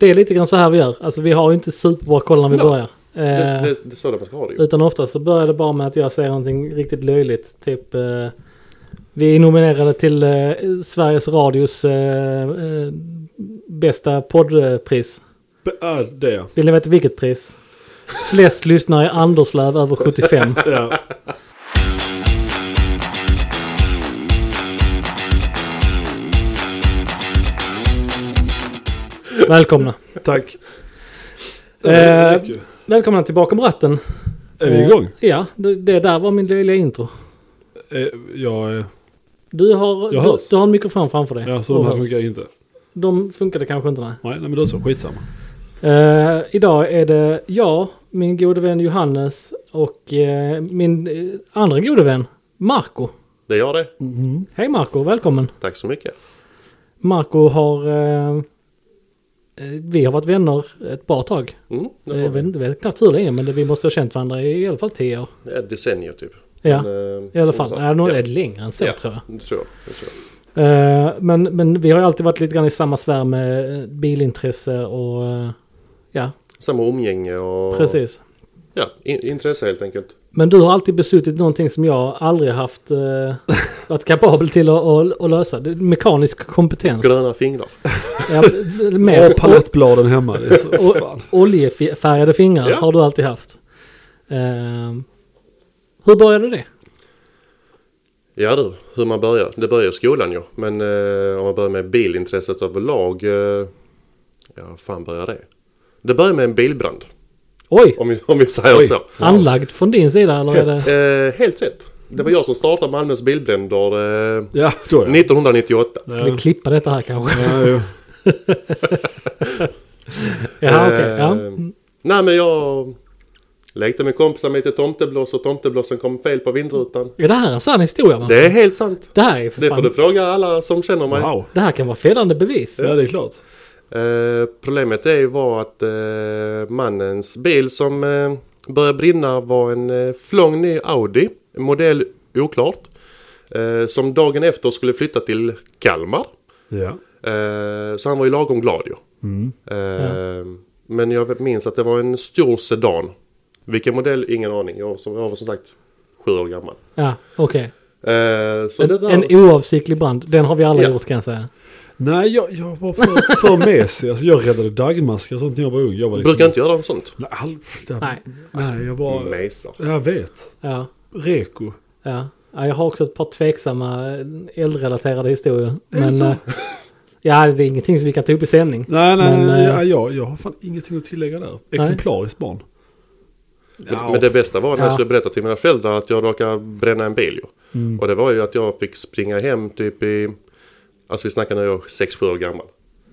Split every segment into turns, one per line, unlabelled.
Det är lite grann så här vi gör. Alltså vi har ju inte superbra koll när vi
No.
börjar.
Det,
Eh,
det, det är så där man ska ha det ju.
Utan ofta så börjar det bara med att jag säger någonting riktigt löjligt. Typ eh, vi är nominerade till eh, Sveriges Radios eh, eh, bästa poddpris.
B- Ja, det ja.
Vill ni veta vilket pris? Flest lyssnare i Anderslöv över 75.
ja.
Välkomna.
Tack.
Eh,
Mycket.
välkomna till Bakom ratten. Eh,
är vi igång?
Ja, det, det där var min löjliga intro.
Eh, ja, eh,
Du har,
Jag
du,
hörs.
du har en mikrofon framför dig.
ja, så
Och
de här
hörs.
funkar inte.
De funkade kanske inte. Nej.
Nej, nej men då så. Skitsamma.
Eh, idag är det jag, min gode vän Johannes och eh, min eh, andra gode vän Marco.
Det gör det.
Hej Marco, välkommen.
Tack så mycket.
Marco har... eh, eh, vi har varit vänner ett bra tag.
Mm, det
Eh, Jag
var
vet, inte- jag vet knappt hur länge men det, vi måste ha känt varandra i, i alla fall tio år.
ett decennium typ.
Ja,
Men, eh,
i alla fall.
Ja,
Nej, nog
ja,
är det längre än så
Ja.
tror jag.
det tror jag. Det tror jag.
Eh, men, men vi har ju alltid varit lite grann i samma sfär med eh, bilintresse och... eh, ja,
Samma umgänge och...
precis.
Ja, in, intresse helt enkelt.
Men du har alltid beslutit någonting som jag aldrig haft eh, varit kapabel till att, att, att lösa. Det är mekanisk kompetens.
Gröna fingrar.
Ja,
Jag
mer
har palettbladen hemma. Det är så,
o-
fan.
oljefärgade fingrar
Ja.
har du alltid haft. Ehm, hur började det?
Ja du, hur man börjar. Det börjar i skolan ju. Men eh, om man börjar med bilintresset överlag. Eh, ja, fan börjar det? Det börjar med en bilbrand.
Oj!
Om vi, om vi säger
Oj.
så.
Anlagd från din sida eller är det?
Eh, helt rätt. Det var jag som startade Malmös bilbränder eh,
Ja, då ja.
1998.
Ja.
Ska vi klippa detta här kanske?
Ja, jo.
Ja, okej. Ja. Mm.
Eh, Nej men jag lekte med kompisar med lite tomteblås och tomteblåsen kom fel på vindrutan.
Är det här en sann historia? Man? Det,
Det är helt sant.
här är för
Det får
fan,
du fråga alla som känner mig.
Wow.
det här kan vara fällande bevis.
Ja, det är klart.
Eh, problemet är ju var att eh, mannens bil som eh, började brinna var en eh, flång ny Audi. Modell oklart. Eh, som dagen efter skulle flytta till Kalmar.
Ja.
Eh, så han var ju lagom glad ju.
Mm.
Eh, Men jag minns att det var en stor sedan. Vilken modell? Ingen aning. Jag, som, jag var som sagt sju år gammal.
Ja, okej.
Eh, så det
En,
där,
en oavsiktlig brand. Den har vi alla
Ja.
gjort kan jag säga.
Nej, jag, jag var för, för mesig. Alltså, jag räddade dagmaskar och sånt när jag var ung. Jag var liksom...
brukar inte Mm. göra något sånt.
Nej, all...
Nej.
Nej, jag var...
Mesar.
Jag vet.
Ja.
Reko.
Ja, Ja, jag har också ett par tveksamma eh, elrelaterade historier. Men, eh, ja, det är ingenting som vi kan ta upp i sändning.
Nej, nej,
Men,
nej.
eh,
Ja, jag, jag har fan ingenting att tillägga där. Exemplariskt barn.
Men, men det bästa var när
Ja.
jag skulle berätta till mina föräldrar att jag råkade bränna en bil. Ju.
Mm.
Och det var ju att jag fick springa hem typ i... Alltså vi snackar när jag var 6-7 år gammal.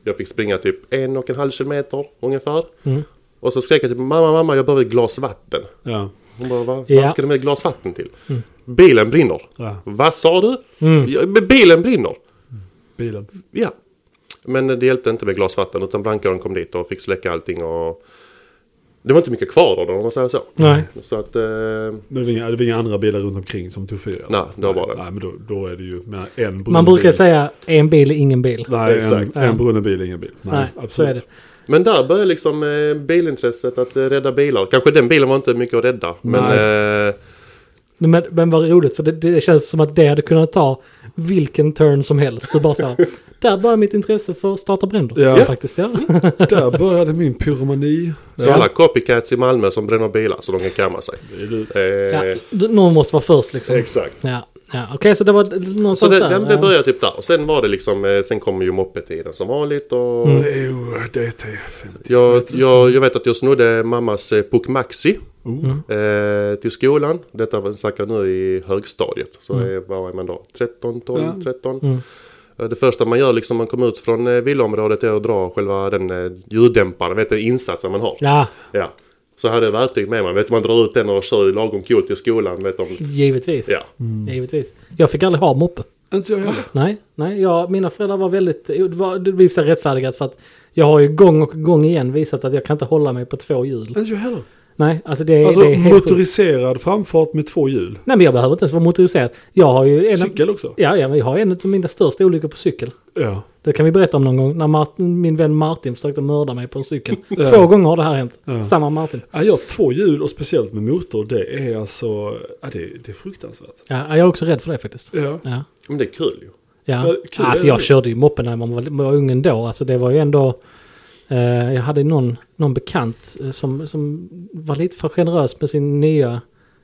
Jag fick springa typ en och en halv kilometer ungefär.
Mm.
Och så skrek jag typ mamma, mamma jag behöver ett glas vatten.
Ja.
Hon bara, vad,
Ja. Mm.
vad ska du med ett glas vatten till? Bilen brinner.
Ja.
Vad sa du? Ja, men bilen brinner.
Bilen.
Ja. Men det hjälpte inte med glas vatten utan brandkåren kom dit och fick släcka allting och... Det var inte mycket kvar av dem om man säger så.
Nej.
Så att... Eh,
Men det var, inga, det var inga andra bilar runt omkring som tog fyra?
Nej, det var bara
Nej,
den.
Nej, men då, då är det ju med en brunnen
Man brukar
bil.
säga en bil är ingen bil. Nej,
Nej,
Exakt.
en, en brunnen bil, ingen bil. Nej, absolut.
så är det.
men där började liksom eh, bilintresset att eh, rädda bilar. Kanske den bilen var inte mycket att rädda. Men... Eh,
Men, men vad roligt, för det, det känns som att det hade kunnat ta vilken turn som helst. Du bara så här, där börjar mitt intresse för att starta bränder.
Ja. Eh.
Faktiskt, ja.
Där började min pyromani.
så alla copycats i Malmö som bränner bilar så de kan kamma sig.
Det är du.
Eh,
ja. du- Någon måste vara först liksom.
Exakt.
Ja, ja. okej så det var någonstans
Så det,
där.
den, det började typ där. Och sen var det liksom... Eh, sen kom ju moppetiden som vanligt och...
Mm.
Det är ju DT.
Jag, jag, jag vet att jag snodde mammas eh, Puck Maxi eh, till skolan. Detta var- snackar jag nu i högstadiet. Så är, vad är man då? 13, 12,
Ja.
13. Eh, Det första man gör liksom man kommer ut från eh, villaområdet är att dra själva den eh, ljuddämparen, vet du, insatsen man har.
Ja,
Ja. Så hade jag verktyg med mig, vet du, man drar ut den och kör lagom coolt till skolan, vet du.
givetvis.
Ja.
givetvis. Jag fick aldrig ha moppe.
Inte jag heller.
Nej, nej jag, mina föräldrar var väldigt, det var, det blir så här rättfärdigat för att jag har ju gång och gång igen visat att jag kan inte hålla mig på två hjul.
Inte jag heller.
Nej, alltså det, är-
Alltså
det är helt sjukt.
motoriserad framfart med två hjul.
Nej men jag behöver inte ens vara motoriserad. Jag har ju en,
Cykel också.
ja, ja, men jag har en av mina största olyckor på cykel.
Ja.
Det kan vi berätta om någon gång. När Martin, min vän Martin försökte mörda mig på en cykel. Två gånger har det här hänt.
Ja.
Samma Martin.
Ja, jag har två hjul och speciellt med motor. Det är alltså, ja, det, det är fruktansvärt.
Ja, jag är också rädd för det faktiskt.
Ja.
Ja.
Men det är kul ju.
Ja.
Ja, kul.
alltså jag körde ju moppen när man var, var ung ändå. Alltså det var ju ändå... Eh, jag hade någon, någon bekant eh, som, som var lite för generös med sin nya...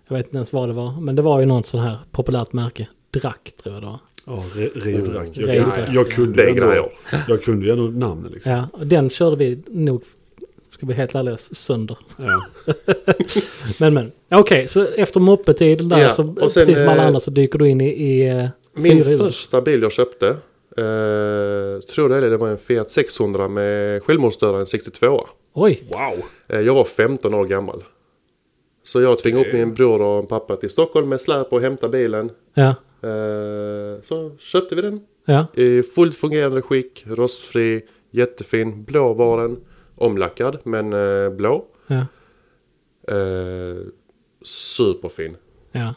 Jag vet inte ens vad det var. Men det var ju något sån här populärt märke. Drack tror jag det var.
Ja, Re- Reodrank. Jag,
Reodrank.
jag, jag kunde
Det är
ju ändå,
grejer.
jag kunde ju ändå namnen liksom.
Ja, och den körde vi nog, ska vi helt ärliga, sönder.
Mm.
Ja.
Men men, okej, så efter moppetiden där
Ja,
så
och sen,
precis som alla
eh,
andra så dyker du in i, i eh,
Min
fyrhjuling.
första bil jag köpte, eh, tror det eller det var en Fiat 600 med självmordsdörren 62.
Oj,
Wow!
Eh, jag var 15 år gammal. Så jag tvingade upp min bror och pappa till Stockholm med släp och hämta bilen.
ja,
Eh, så köpte vi den.
ja,
I fullt fungerande skick, rostfri, jättefin, blå var den. Omlackad, men eh, blå.
ja,
Eh, superfin.
ja,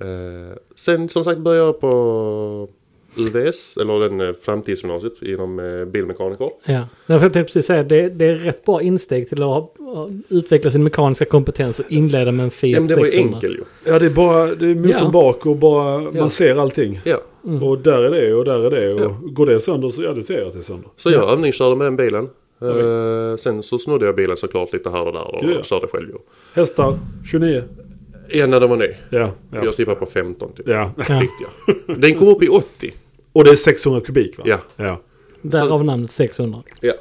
Eh, sen som sagt började jag på UVS, eller den eh, framtidsgymnasiet inom eh, bilmekaniker.
ja. Jag tänkte precis säga, det, det är rätt bra insteg till att ha, ha- utveckla sin mekaniska kompetens och inleda med en
Ja,
Fiat
men
600.
det var ju enkel ju.
Ja, det är bara, det är motorn
Ja.
bak och bara, man ser allting.
Ja.
Och där är det och där är det och går det sönder så ja, du ser att det är sönder.
Så jag övningskörde med den bilen. Eh, Sen så snodde jag bilen såklart lite här och där och
Ja, ja.
körde själv ju.
Hästar, 29.
Ja, när den var ny.
Ja, ja.
Jag tippar på 15 typ.
ja.
Ja.
Riktiga. Den kom upp i 80.
Och det är 600 kubik va?
Ja.
ja.
Därav namnet 600.
Ja.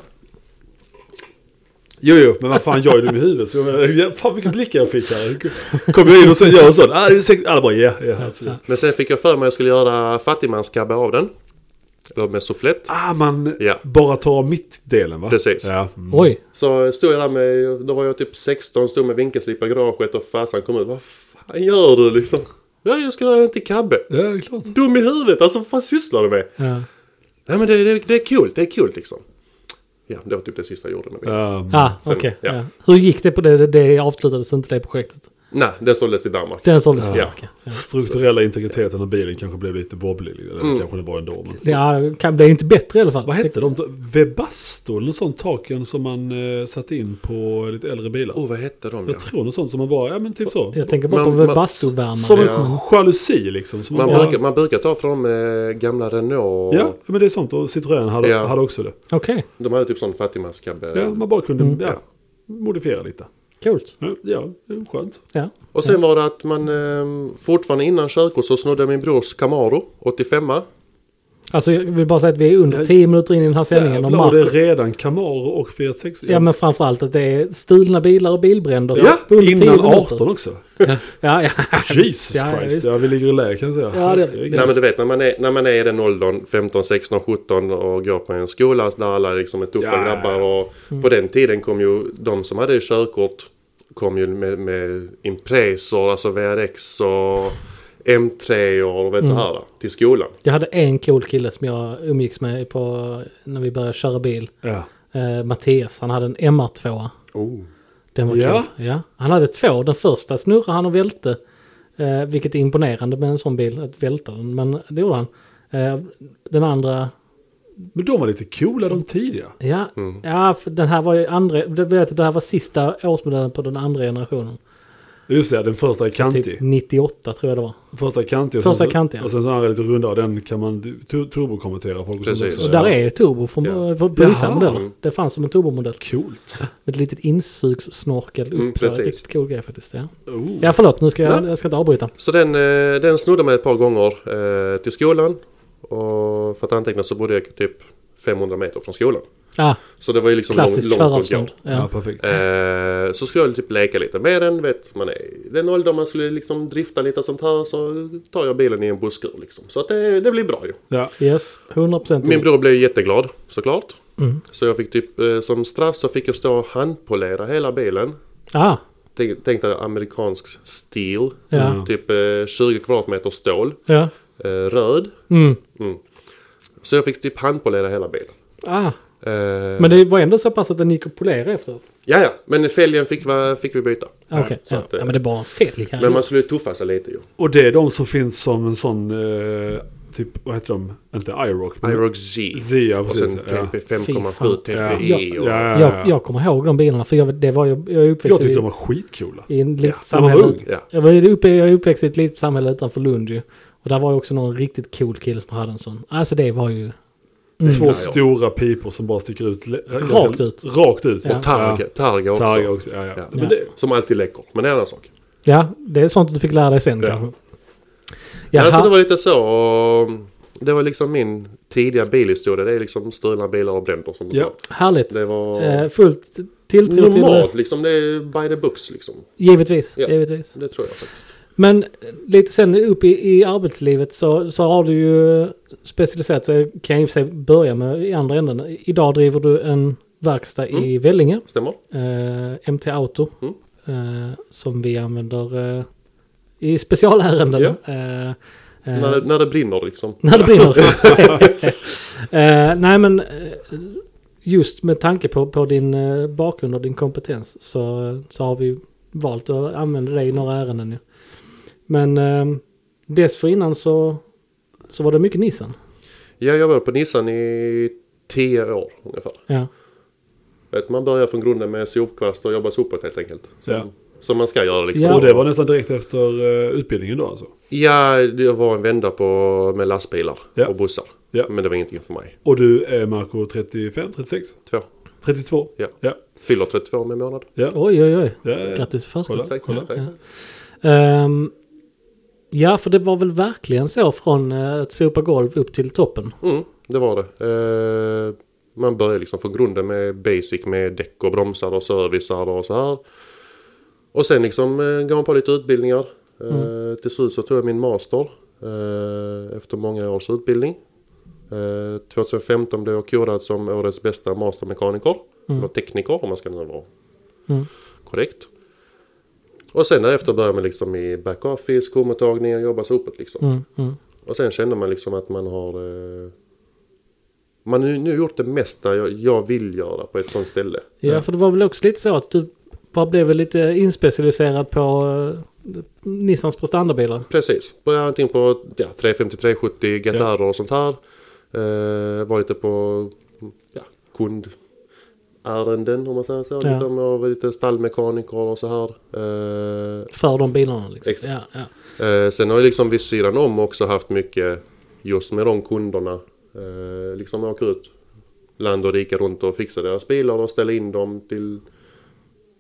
Jo, jo, men vad fan, jag är dum i huvudet. Så jag menar, ja, fan vilken blick jag fick här. Kom jag in och sen gör jag sånt. Ah, det är sex... Alla bara ja, ja, absolut.
Men sen fick jag för mig att jag skulle göra fattigmanskabbe av den. Eller med soufflett.
Ah, man
Ja.
bara tar av mittdelen va?
Precis.
Ja. Mm.
Oj,
Så stod jag där med, då var jag typ 16, stod med vinkelslip i garaget och farsan kom ut. Vad fan gör du liksom? Ja, jag ska göra den till kabbe.
Ja, det är klart.
Dum i huvudet, alltså vad fan sysslar du med?
ja.
Nej men det, det, det är kul, det är kul liksom. Ja, det var typ det sista jag gjorde med bilen.
Um,
Ah,
sen-
okej.
ja.
ja. Hur gick det på det? Det, det avslutades inte det projektet.
Nej, den såldes i Danmark.
Den såldes
Ja.
tillbaka. Ja.
Strukturella integriteten av bilen kanske blev lite wobblig. Eller
Mm.
kanske det var ändå. Men...
Ja, det kan bli inte bättre i alla fall.
Vad hette de? Webasto eller något sånt taken som man eh, satte in på lite äldre bilar.
Åh, oh, vad hette de ja?
Jag tror något sånt som man bara, ja men typ så.
Jag tänker bara
Man-
på
man-
Som
bastovärmare.
en
Ja.
jalusi liksom. Som man
Man,
bara,
brukar, man brukar ta från eh, gamla Renault.
Ja, men det är sånt. Och Citroën hade,
Ja.
hade också det.
Okej,
De hade typ sån fattigmanskabbe.
Ja, man bara kunde
Mm.
ja,
Ja.
modifiera lite.
coolt.
Ja, Ja, det är skönt.
Ja.
Och sen var det att man eh, fortfarande innan körkort så snodde jag min brors Camaro 85
Alltså jag vill bara säga att vi är under
Jag-
10 minuter in i den här sändningen om
Jävlar, och det är
Marcus.
redan Camaro och Fiat 6.
Ja men framförallt att det är stulna bilar och bilbränder.
Ja,
på under 10
innan
minuter.
18 också.
Ja, ja.
Jesus
ja, ja,
Christ,
visst.
ja, vi ligger i lä kan jag säga.
Ja, det-
Herregud.
Nej men du vet när man, är, när man är i den åldern, 15, 16, 17 och går på en skola där alla liksom är tuffa
Ja. Mm.
grabbar. Och På den tiden kom ju de som hade körkort kom ju med, med Impresor, alltså VRX och M3 och vet så
Mm.
här då, till skolan.
Jag hade en cool kille som jag umgicks med på, när vi började köra bil.
Ja.
Eh, Mattias, han hade en MR2.
Oh.
Den var
Ja.
cool. Ja. Han hade två. Den första snurrade han och välte. Eh, vilket är imponerande med en sån bil, att välta den. Men det gjorde han. Eh, den andra
Men de var lite coola de tidiga.
Ja,
Mm.
ja för den här var ju andra, det, vet, jag, det här var sista årsmodellen på den andra generationen.
Just det, den första är kantig.
Typ 98 tror jag det var.
Första kantig. och
Första
sen så-
kantig, ja.
Och sen så har jag lite runda och den kan man tu- turbokommentera. Folk och sånt
Precis.
Så
också.
där är ju turbo från,
Ja.
på, på vissa
Jaha.
modeller. Det fanns som en turbomodell.
Coolt.
Med ett litet insugssnorkel upp.
Mm,
så här.
precis.
riktigt cool grej faktiskt. Ja,
Oh.
ja förlåt, nu ska jag,
Ja.
jag ska inte avbryta.
Så den, eh, den snodde mig ett par gånger eh, till skolan. Och för att anteckna så bodde jag typ 500 meter från skolan.
Ja,
Så det var ju liksom långt,
klassiskt
långt att gå.
köravstånd.
Ja.
Ja.
perfekt.
Eh, så skulle jag typ leka lite med den. Vet man är i den åldern man skulle liksom drifta lite och sånt här så tar jag bilen i en busskur liksom. Så att det, det blir bra ju.
Mm.
Ja.
Yes, 100 procent.
Min bror blev jätteglad såklart.
Mm.
Så jag fick typ eh, som straff så fick jag stå och handpolera hela bilen.
Ja,
Tänk- Tänkte amerikansk stil.
Ja.
Mm. Typ eh, 20 kvadratmeter stål.
ja.
Eh, röd.
Mm.
Så jag fick typ handpolera hela bilen.
Ah.
Eh,
Men det var ändå så pass att den gick att polera efteråt.
Ja, ja. Men fälgen fick, va- fick vi byta.
Ah, Okej,
så
ja.
att,
ja,
eh,
Mm. men det var en fel.
Men man skulle ju tuffa sig lite ju.
Och det är de som finns som en sån eh, typ, vad heter de? Inte iRock? men-
Irox Z.
Z, ja
Och
precis.
sen
ja.
TP
Fy
5,7
fan.
TPI. E Och,
Ja, ja, ja.
Jag, jag kommer ihåg de bilarna för jag, det var ju, jag är
Jag
uppväxt
tyckte
i,
de var skitcoola.
i en litet
Ja,
när man var
samhälle.
ung.
ut-
ja.
Jag, var ju uppe, jag är uppväxt i ett litet samhälle utanför Lund ju. Och där var ju också någon riktigt cool kille som hade en sån. Alltså det var ju...
Två
Ja, ja.
stora pipor som bara sticker ut. le-
Mm. Rakt ut.
Rakt ut.
Ja.
Targa, targa också.
Targa också. Ja, ja.
Ja.
Men det,
Som alltid läcker. Men det är en annan sak.
Ja, det är sånt du fick lära dig sen
Ja.
kanske.
Ja, alltså,
Jaha.
det var lite så. och Det var liksom min tidiga bilhistoria. Det är liksom stulna bilar och bränder som du
Ja.
sa.
Härligt.
Det var
Eh, fullt tilltro till det.
normalt liksom. Det är by the books liksom.
Givetvis,
Ja.
givetvis.
Det tror jag faktiskt.
Men lite sen upp i, i arbetslivet så, så har du ju specialiserat sig, kan jag i och för sig börja med i andra änden. Idag driver du en verkstad i Vellinge,
Stämmer?
eh, MT Auto,
Mm.
eh, som vi använder eh, i specialärenden.
Ja.
Eh, eh,
När, det, när det brinner liksom.
När det brinner. eh, nej men eh, just med tanke på, på din eh, bakgrund och din kompetens så, så har vi valt att använda dig i några ärenden. nu. Men eh, dessförinnan så, så var det mycket Nissan.
Ja, jag var på Nissan i tio år ungefär.
Ja.
Vet, man börjar från grunden med sopkvast och jobbar sopor helt enkelt. Som,
Ja.
som man ska göra liksom.
Ja.
Och det var nästan direkt efter eh, utbildningen då alltså.
Ja, jag var en vända på, med lastbilar
Ja.
och bussar.
Ja.
Men det var ingenting för mig.
Och du är Marco 35, 36,
Två.
32?
Ja.
Ja.
Fyller 32 om en månad.
ja.
Oj oj oj.
Ja, ja.
Grattis i förskott.
Kolla,
Tack,
kolla.
tack.
Ehm, ja för det var väl verkligen så från eh, att sopa golv upp till toppen.
Mm, det var det. Eh, man börjar liksom från grunden med basic med däck och bromsar och servicar och så här. Och sen liksom eh, gav man på lite utbildningar. Eh, Till slut så tog jag min master eh, efter många års utbildning. Eh, 2015 blev jag korad som årets bästa mastermekaniker. Eller tekniker om man ska nu vara
Mm.
korrekt. Och sen därefter började man liksom i back-office, kommottagning och jobba så uppåt liksom.
Mm, mm.
Och sen känner man liksom att man har... Eh, man har ju nu gjort det mesta jag, jag vill göra på ett sånt ställe.
Ja, för det var väl också lite så att du bara blev väl lite inspecialiserad på eh, Nissans prestandabilar.
Precis. Började antingen på ja, 350, 370, GTR och sånt här. Eh, var lite på ja, kundärenden om man säger så.
Ja.
Lite, om jag var lite stallmekaniker och så här. Eh,
För de bilarna liksom.
Exakt.
Ja, ja.
Eh, sen har jag liksom vid sidan om också haft mycket just med de kunderna. Eh, liksom åka ut land och rike runt och fixa deras bilar och ställa in dem till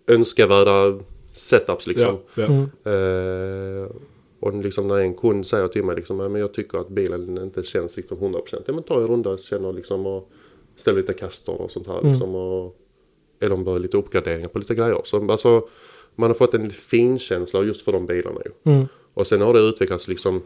önskvärda setups liksom.
Ja. Ja.
Mm.
Eh, och liksom när en kund säger till mig liksom, "Ja, men jag tycker att bilen inte känns liksom 100%. Ja men ta en runda och känner liksom och ställ lite kastor och sånt här liksom. Och, eller de behöver lite uppgraderingar på lite grejer. Så alltså, man har fått en fin känsla just för de bilarna ju.
Mm.
Och sen har det utvecklats liksom,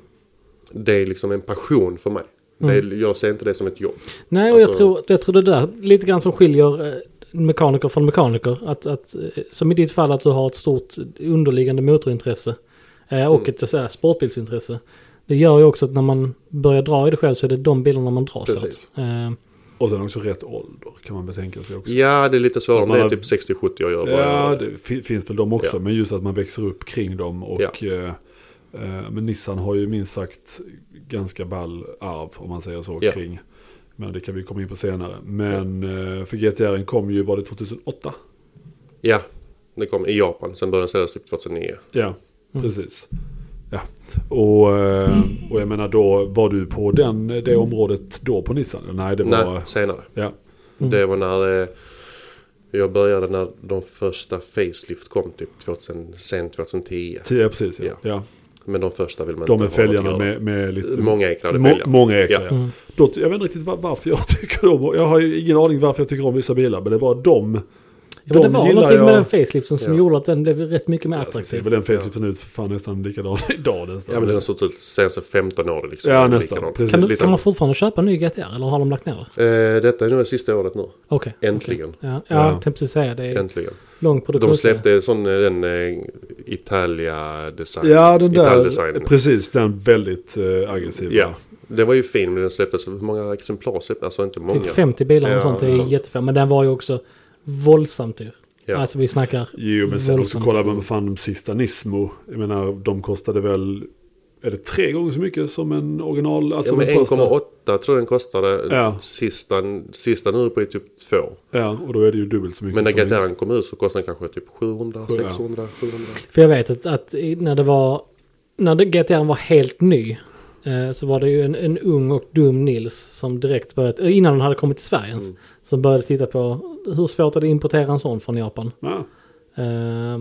det är liksom en passion för mig. Det är,
Mm.
jag ser inte det som ett jobb.
Nej, och jag,
Alltså-
tror, jag tror det där lite grann som skiljer eh, mekaniker från mekaniker. Att, att, eh, som i ditt fall att du har ett stort underliggande motorintresse eh, och ett så här, sportbilsintresse. Det gör ju också att när man börjar dra i det själv så är det de bilarna man dras
Precis.
åt. Eh,
Och sen också rätt ålder kan man betänka sig också.
Ja, det är lite svårare om
Man
det är
har-
typ 60-70 jag gör.
Ja,
bara.
det fi- finns väl de också.
Ja.
Men just att man växer upp kring dem. Och, eh, eh, men Nissan har ju minst sagt ganska ball arv, om man säger så,
Ja.
kring. Men det kan vi komma in på senare. Men eh, för GTR kom ju, var det 2008?
ja, det kom i Japan. Sen började den säljas typ 2009.
Ja,
Mm.
precis. Ja. Och, eh, och jag menar då, var du på den, eh, det området då på Nissan? Nej, det var... Mm.
Nej, senare.
Ja,
Det var när eh, jag började när de första facelift kom typ 2000, sen 2010.
tio, precis. Ja.
Ja.
Ja.
Men de första vill man
De är
inte ha något att
fälgarna
göra.
med, med lite...
Många ekrade
Må-
fälgar.
Många ekrar,
Ja.
ja. Då, ty- jag vet inte riktigt va- varför jag tycker om, jag har ju ingen aning varför jag tycker om vissa bilar, men det är bara dem.
ja, men det
De
var
gillar
någonting med
jag.
den faceliften som
Ja.
gjorde att den blev rätt mycket mer
Alltså, det är
attraktiv.
väl den faceliften ut för fan nästan likadan idag nästan.
Ja men den har suttit sen så 15 år liksom.
Ja,
Den är
nästan.
likadan.
Precis.
Kan, du,
Lite-
kan man fortfarande köpa en ny GTR eller har de lagt ner det?
Eh, Detta är nog det sista året nu.
Okej.
Äntligen.
okej. Ja,
Ja.
ja, jag tänkte precis säga det. Är
Äntligen.
lång produktion.
De släppte en sån, eh, den eh, Italia design.
ja, den där,
Italdesign.
precis, den väldigt eh, aggressiva.
Ja, den var ju fin men den släpptes, hur många exemplar släpptes? Alltså inte många.
Typ 50 bilar och
Ja,
sånt. Det
något
är
sånt.
jättefint. Men den var ju också våldsamt dyr.
Ja.
Alltså vi snackar...
Jo, men sen också
Våldsamt.
kollar man på fan de sista Nismo. Jag menar, de kostade väl är det tre gånger så mycket som en original? Alltså
Ja, men
den första?
1,8 tror jag den kostade.
Ja.
Sista, sista nu är på typ 2.
Ja, och då är det ju dubbelt så mycket.
Men när
som en-
Gataran kom ut så kostade den kanske typ 700,
Sju, ja.
600, 700.
För jag vet att, att i- när det var, när det- GTR var helt ny, eh, så var det ju en, en ung och dum Nils som direkt började, eh, innan han hade kommit till Sverige ens,
Mm.
som började titta på hur svårt är det att importera en sån från Japan.
Ja,
Eh,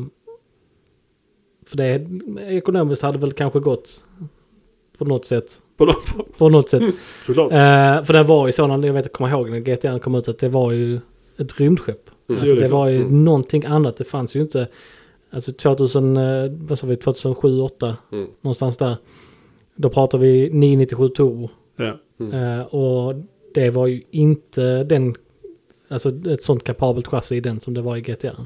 för det ekonomiskt hade väl kanske gått på något sätt.
på dem.
På något
Mm.
sätt.
Såklart.
Eh, för det var ju sådana, jag vet inte, kommer ihåg när GTR kom ut, att det var ju ett rymdskepp.
Mm.
Alltså,
Ja, det
det
är
var ju
klart. Mm.
någonting annat, det fanns ju inte. Alltså 2000, eh, vad sa vi, 2007, 2008,
Mm.
någonstans där. Då pratar vi 997 Turbo.
Ja.
Mm.
Eh, och det var ju inte den, alltså ett sånt kapabelt chassi i den som det var i GTR.
Ja,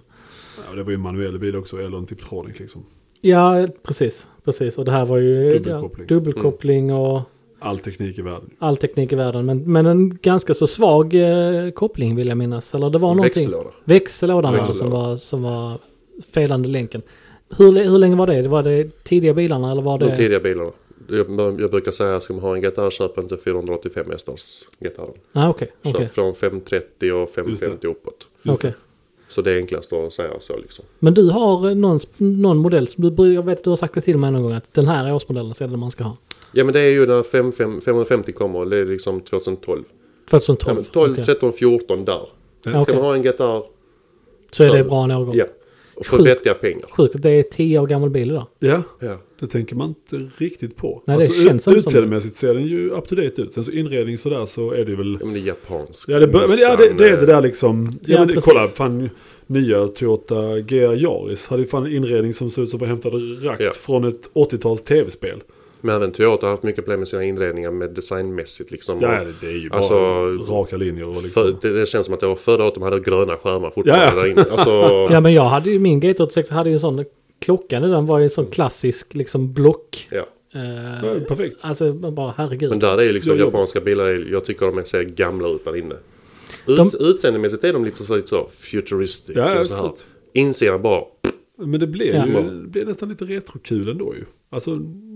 och det var ju en manuell bil också, eller en Tiptronic liksom.
Ja, precis, precis. Och det här var ju
Dubbelkoppling.
Ja, dubbelkoppling
Mm.
och
All teknik i världen.
all teknik i världen. Men, men en ganska så svag eh, koppling vill jag minnas. Eller det var någonting.
Växellåda.
Växellådan var det som
Växellåda.
var, som var felande länken. Hur, l- hur länge var det? Det Var det tidiga bilarna eller var
De
det?
tidiga bilarna. Jag, jag brukar säga att ska man ha en GTR köp inte 485 hästars GTR.
Ah, okej,
Köp
okej.
från 530 och 550 uppåt.
Just
okej.
Så det är enklast att säga så liksom.
Men du har eh, någon, sp- någon modell som du bryr- jag vet att du har sagt det till mig någon gång att den här årsmodellen så är det den man ska ha.
Ja men det är ju när 5, 5, 550 kommer, det är liksom 2012. 12,
2012.
12
okej.
13, 14 där.
Ja,
Ska
okej.
man ha en GTR,
Så är det
så-
bra en årgång.
ja. Och för
Sjukt.
vettiga pengar.
Sjukt att det är 10 år gammal bil idag.
Ja,
Ja.
det tänker man inte riktigt på. Alltså,
Nej, det
ut-
känns som-
Utseendemässigt ser den ju up to date ut. Sen så inredning sådär så är det väl...
ja men det är eh, japanskt.
Ja, det, bör, men, ja, det, det är det där liksom. Ja,
Ja,
men,
precis.
kolla, fan nya Toyota GR Yaris hade ju fan en inredning som såg ut som var hämtad rakt
Ja.
från ett 80-tals tv-spel.
Men även Toyota har haft mycket problem med sina inredningar med designmässigt liksom.
Ja,
Och
det, det är ju
Alltså-
bara raka linjer och liksom.
för, det, det känns som att det var förra året de hade gröna skärmar fortfarande
Ja, ja.
där inne. Alltså,
Ja men jag hade ju min GT86 hade ju en sån klockan i den var ju en sån klassisk liksom block.
ja.
Eh,
Ja, perfekt.
alltså man bara
Men
herregud.
där är ju liksom
Jag jobbar.
japanska bilar, är- jag tycker de ser gamla ut där inne. Ut,
De-
Utseendemässigt är de lite så, lite så futuristic.
Ja, ja,
och så här.
absolut.
Insidan bara.
Men det blev
Ja.
ju det blev nästan lite retrokul ändå ju. Alltså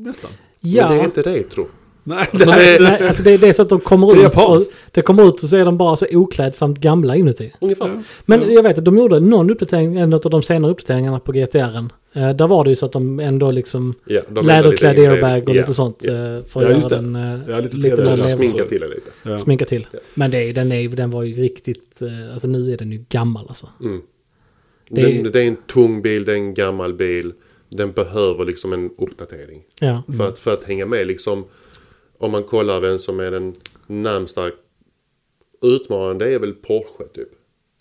nästan.
Ja,
Men det är inte retro.
Nej,
Alltså,
nej.
det-
nej, alltså det, det är så att de kommer
Det
ut
är
och,
japanskt.
det kommer ut och så är de bara så oklädsamt gamla inuti.
Ungefär.
Men
Ja.
jag vet att de gjorde någon uppdatering, en av de senare uppdateringarna på GTR. Eh, där var det ju så att de ändå liksom
Ja, de
läderklädd
ändrar lite
airbag och
inredning.
lite sånt. eh, För
Ja,
att
just
göra
det.
den eh,
Ja, lite
lite
trevligare.
Ja.
mer
Sminka
sminka.
Sminka
så.
till det lite.
Ja.
sminka till.
Ja.
Men det, är- den, är, ju- den var ju riktigt, eh, alltså nu är den ju gammal alltså.
Mm.
Det
Det
är-
är... Det, är en tung bil, det är en gammal bil. Den behöver liksom en uppdatering.
Ja.
För, att, för att hänga med liksom. Om man kollar vem som är den närmsta utmanaren. Det är väl Porsche typ.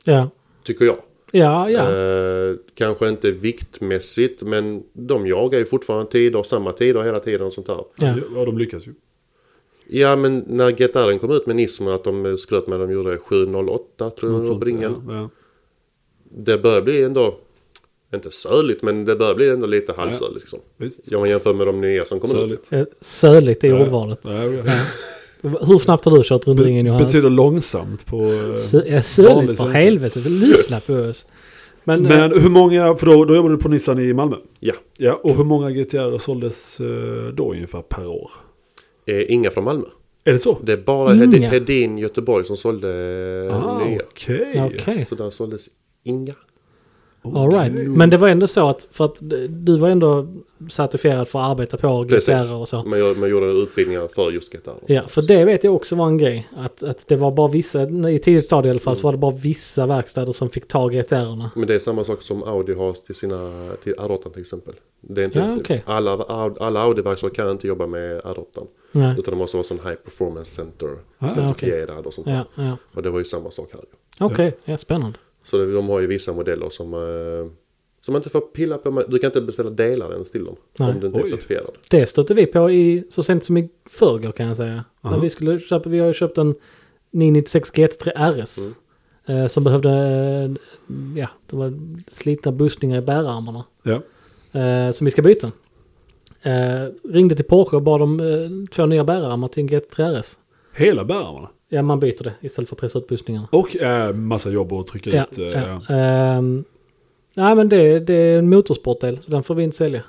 Ja,
Tycker jag.
ja, ja.
Eh, kanske inte viktmässigt men de jagar ju fortfarande tider, samma tider hela tiden och sånt där.
ja.
Ja, de lyckas ju.
Ja men när GTR'n kom ut med Nismo att de skröt med att de gjorde 708 tror jag de var
Något sånt,
på ringen.
ja, ja.
Det börjar bli ändå, inte söligt men det börjar bli ändå lite halvsöligt. Liksom.
Visst.
Om man jämför med de nya som kommer ut.
Söligt.
Eh, Söligt är ordvalet.
Ja, ja, ja.
Hur snabbt har du kört runt ringen
Be-
Johannes?
betyder långsamt på... eh,
Sö- eh, Söligt
vanligt
för
svenska.
helvete, lyssna på oss. Men, eh,
Men hur många, för då, då jobbade du på Nissan i Malmö?
Ja.
Ja, och hur många GTR såldes eh, då ungefär per år?
Eh, inga från Malmö.
Är det så?
Det är bara
Inga?
Hedin, Hedin Göteborg som sålde eh,
Ah,
nya.
okej.
okej.
Så där såldes inga.
All right. Men det var ändå så att, för att eh, du var ändå certifierad för att arbeta på GTR och så.
Man, gör- man gjorde utbildningar för just GTR.
Ja, för det vet jag också var en grej. Att, att det var bara vissa, i tidigt stadie i alla fall, så var det bara vissa verkstäder som fick ta GTR-erna.
Men det är samma sak som Audi har till sina, till R8 till exempel. Det är inte,
Ja, okej.
alla, Aud- alla Audi-verkstäder kan inte jobba med R8.
Nej.
Utan det måste vara sån high performance center.
Ah,
certifierad och sånt där.
Ja, ja.
Och det var ju samma sak här.
Okej, ja, spännande.
Så det- de har ju vissa modeller som, eh, som man inte får pilla på. Man- Du kan inte beställa delar ens till dem.
Nej.
Om du inte är
Oj.
certifierad.
Det stötte vi på i, så sent som i förrgår kan jag säga. När vi, skulle köpa, vi har ju köpt en 996 GT3 RS.
Mm.
Eh, som behövde, eh, ja, det var slitna bussningar i bärarmarna.
Ja.
eh, som vi ska byta. Eh, ringde till Porsche och bad om eh, två nya bärarmar till en GT3 RS.
Hela bärarmarna?
Ja, man byter det istället för att pressa ut bussningarna.
Och eh, massa jobb att trycka
Ja,
ut. eh,
ja. Ehm, nej, men det, det är en motorsportdel, så den får vi inte sälja.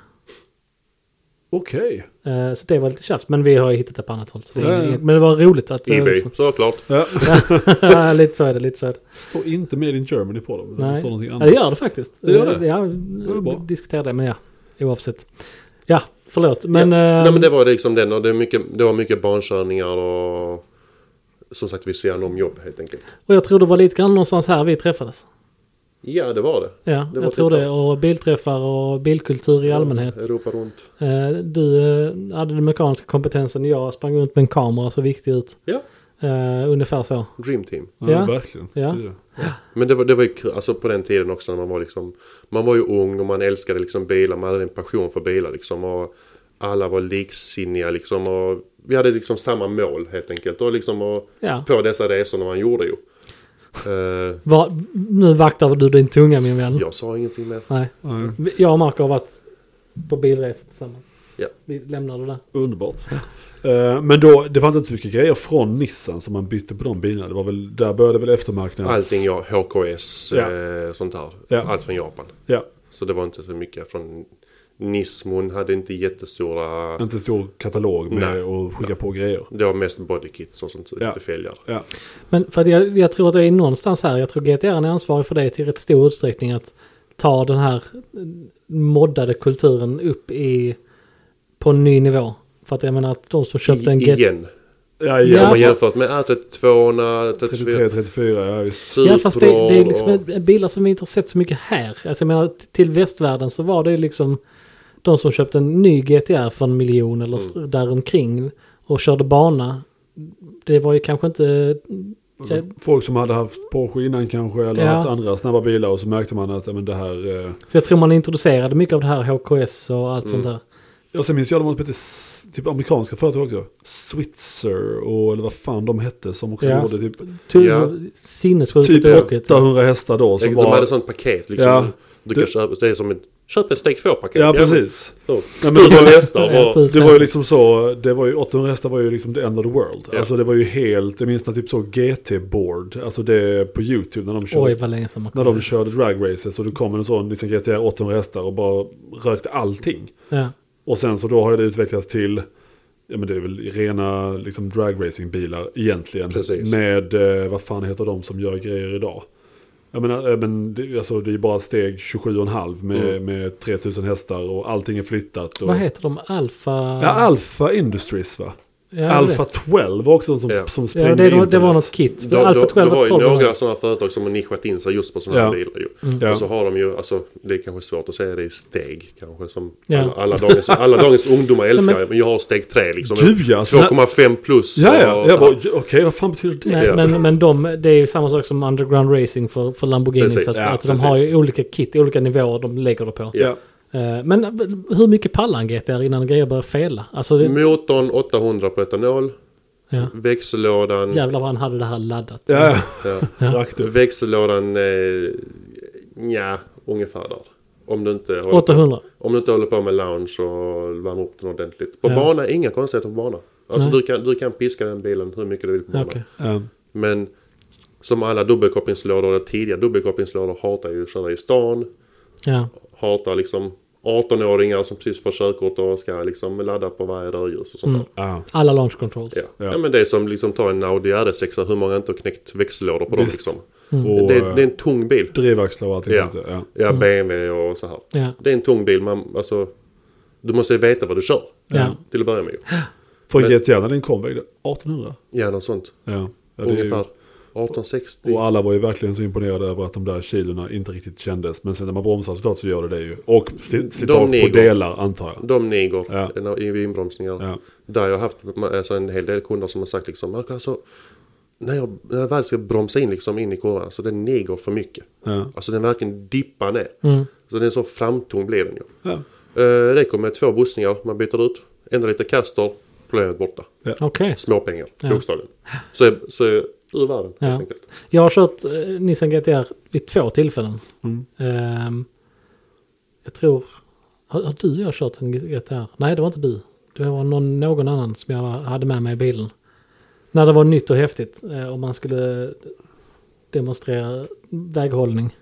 Okej.
Eh, Så det var lite tjafs, men vi har ju hittat det på annat håll. Så det
Ja,
är
ja.
inget, men det var roligt att... eh,
Ebay,
liksom-
såklart.
Ja.
lite så är det, lite så är det.
Står inte Made in Germany på dem. Det
Nej.
står någonting
Ja,
annat.
det gör det faktiskt.
Det gör det.
Ja,
är bra.
vi diskuterar det, men ja. Oavsett. Ja, förlåt. Men... eh,
Nej men det var liksom den och det, är mycket, det var mycket barnkörningar och som sagt vi ser om jobb helt enkelt.
Och jag tror det var lite grann någonstans här vi träffades.
Ja det var det.
Ja,
Det var
jag tror
typ
det. Och bilträffar och bilkultur i allmänhet.
Europa runt.
Eh, Du eh, hade den mekaniska kompetensen, jag sprang runt med en kamera och såg viktig ut.
Ja,
Eh, Ungefär så.
Dream Team.
Ja,
Ja.
verkligen.
Ja.
Det är det.
Men det var, det var ju kul, alltså på den tiden också när man var liksom Man var ju ung och man älskade liksom bilar, man hade en passion för bilar liksom och Alla var liksinniga liksom och Vi hade liksom samma mål helt enkelt och liksom och
Ja.
På dessa resorna man gjorde ju Eh,
Va, nu vaktar du din tunga min vän.
Jag sa ingenting mer
Nej.
Nej,
Vi- Jag och Marco har varit på bilresor tillsammans.
Ja.
Vi lämnar det där.
Underbart. Eh, Men då, det fanns inte så mycket grejer från Nissan som man bytte på de bilarna. Det var väl, där började väl eftermarknaden.
Allting ja, HKS,
Ja.
Eh, sånt här
Ja.
Allt från Japan
Ja,
Så det var inte så mycket från Nismon hade inte jättestora
inte en stor katalog med
Nej.
att skicka på grejer.
Det var mest bodykits och sånt,
Ja.
lite fälgar
Ja,
Men för att jag, jag tror att det är någonstans här. Jag tror GTR är ansvarig för det till rätt stor utsträckning. Att ta den här eh, moddade kulturen upp i, på en ny nivå. För att jag menar att de som köpte en
I,
GTR...
igen.
ja,
Ja,
Om
ja.
man jämfört med R32, 34,
33, 34, ja visst.
Supra
Ja fast det, det är liksom
och-
ett- bilar som vi inte har sett så mycket här. Alltså jag menar t- till västvärlden så var det ju liksom de som köpte en ny GTR för en miljon eller
Mm.
s- däromkring och körde bana. Det var ju kanske inte...
Mm.
Ja,
Folk som hade haft Porsche innan kanske eller
Ja.
haft andra snabba bilar och så märkte man att ja, men det här... eh,
så jag tror man introducerade mycket av det här HKS och
Mm.
allt sånt där.
Ja, sen minns jag de var lite s- typ amerikanska företag också. Switzer och eller vad fan de hette som också
Ja.
gjorde typ,
Ty-
Ja.
Sinnessjukt
typ
tråkigt.
800 hästar då. Som
de
var,
hade sånt paket liksom.
Ja.
Du kan
Du-
köpa, det är som ett köp ett steg 2-paket.
ja, precis. men det
Tusen
var-
hästar. och-
Precis.
Det var ju liksom så, det var ju, 800 hästar var ju liksom the end of the world.
Ja.
Alltså det var ju helt, jag minns när typ så GT-board, alltså det på YouTube när de
Oj
körde,
vad länge sedan man
när
kom.
de körde drag races och det kom en sån liksom GTR 800 hästar och bara rökte allting.
Ja.
Och sen så då har det utvecklats till, ja men det är väl rena liksom drag racing bilar egentligen.
Precis.
Med, eh, vad fan heter de som gör grejer idag? Jag menar, eh, men det, alltså det är bara steg 27,5 med,
Mm.
med 3000 hästar och allting är flyttat. Och,
Vad heter de? Alfa...
Ja, Alpha Industries va?
Ja, jag
Alpha
vet.
12 var också en som,
Ja.
som sprängde
Ja, det, det,
internet.
det var något kit.
Då,
Alfa
då,
12
det var ju
12
några sådana företag som har nischat in sig just på sådana
Ja. Mm.
här bilar. Ju.
Ja.
Och så har de ju, alltså, det är kanske svårt att säga det i steg kanske. Som
Ja.
alla, alla, dagens, alla dagens ungdomar älskar.
men-
men, jag har steg 3 liksom.
Gud, ja, så-
2,5 plus.
Ja, ja.
och
Jag
så
bara,
här.
okej, vad fan betyder det?
Nej,
Ja.
men, men de, det är ju samma sak som underground racing för, för Lamborghini.
Precis.
Så att,
Ja,
att de
precis.
har ju olika kit, olika nivåer de lägger det på.
Ja.
Eh, Men hur mycket pallar en GTR innan grejer börjar fela? Alltså,
Mm.
det,
Motorn 800 på etanol.
ja.
Mm. Växellådan.
Jävlar vad han hade det här laddat.
Ja,
Ja.
ja. Rakt upp.
Växellådan, eh, ja, ungefär där. Om du inte håller
800.
Om du inte håller på med lounge och värmer upp den ordentligt. På
Ja.
bana, inga konstigheter på bana. Alltså
Nej.
du kan, du kan piska den bilen hur mycket du vill på bana.
Okej.
Ja.
Men som alla dubbelkopplingslådor, eller tidiga dubbelkopplingslådor hatar ju att köra i stan.
Ja.
Hatar liksom 18-åringar som precis får körkort och ska liksom ladda på varje rödljus och sånt
Mm.
där.
Ja.
Alla launch controls.
Ja. Ja.
Ja.
men det är som liksom ta en Audi RS6, hur många har inte knäckt växellådor på dem
Visst.
liksom.
Mm.
Och eh,
Det, är- det är en tung bil.
drivaxlar och allting.
Ja.
sånt, Ja. Mm.
Ja, BMW och så här.
Ja.
Det är en tung bil, man, alltså, du måste ju veta vad du kör.
Ja.
Till att börja med ju.
För
Men-
GTR när den kom vägde 1800.
Ja, något sånt.
Ja. Ja, det är ju-
Ungefär. 1860.
Och alla var ju verkligen så imponerade över att de där kilorna inte riktigt kändes. Men sen när man bromsar såklart så gör det det ju. Och sli- slitage på
negor.
delar antar jag.
De neger
Ja.
ja. i inbromsningar.
Ja.
Där jag har haft alltså, en hel del kunder som har sagt liksom. "Marco, Alltså, när, jag, när jag väl ska bromsa in liksom, in i kurvan. Så den neger för mycket.
Ja. Mm.
Alltså den verkligen dippar ner. Så den är så framtung blir den ju.
Ja.
Eh, det kommer två bussningar man byter ut. Ändrar lite kastor. Problemet borta.
Okej.
Småpengar bokstavligen. Så, är- så är ur världen
Ja.
helt enkelt.
Jag har kört eh, Nissan GTR vid två tillfällen. Ehm, jag tror... Har, har du och jag kört en GTR? Nej, det var inte du. Det var någon, någon annan som jag hade med mig i bilen. När det var nytt och häftigt eh, och man skulle demonstrera väghållning.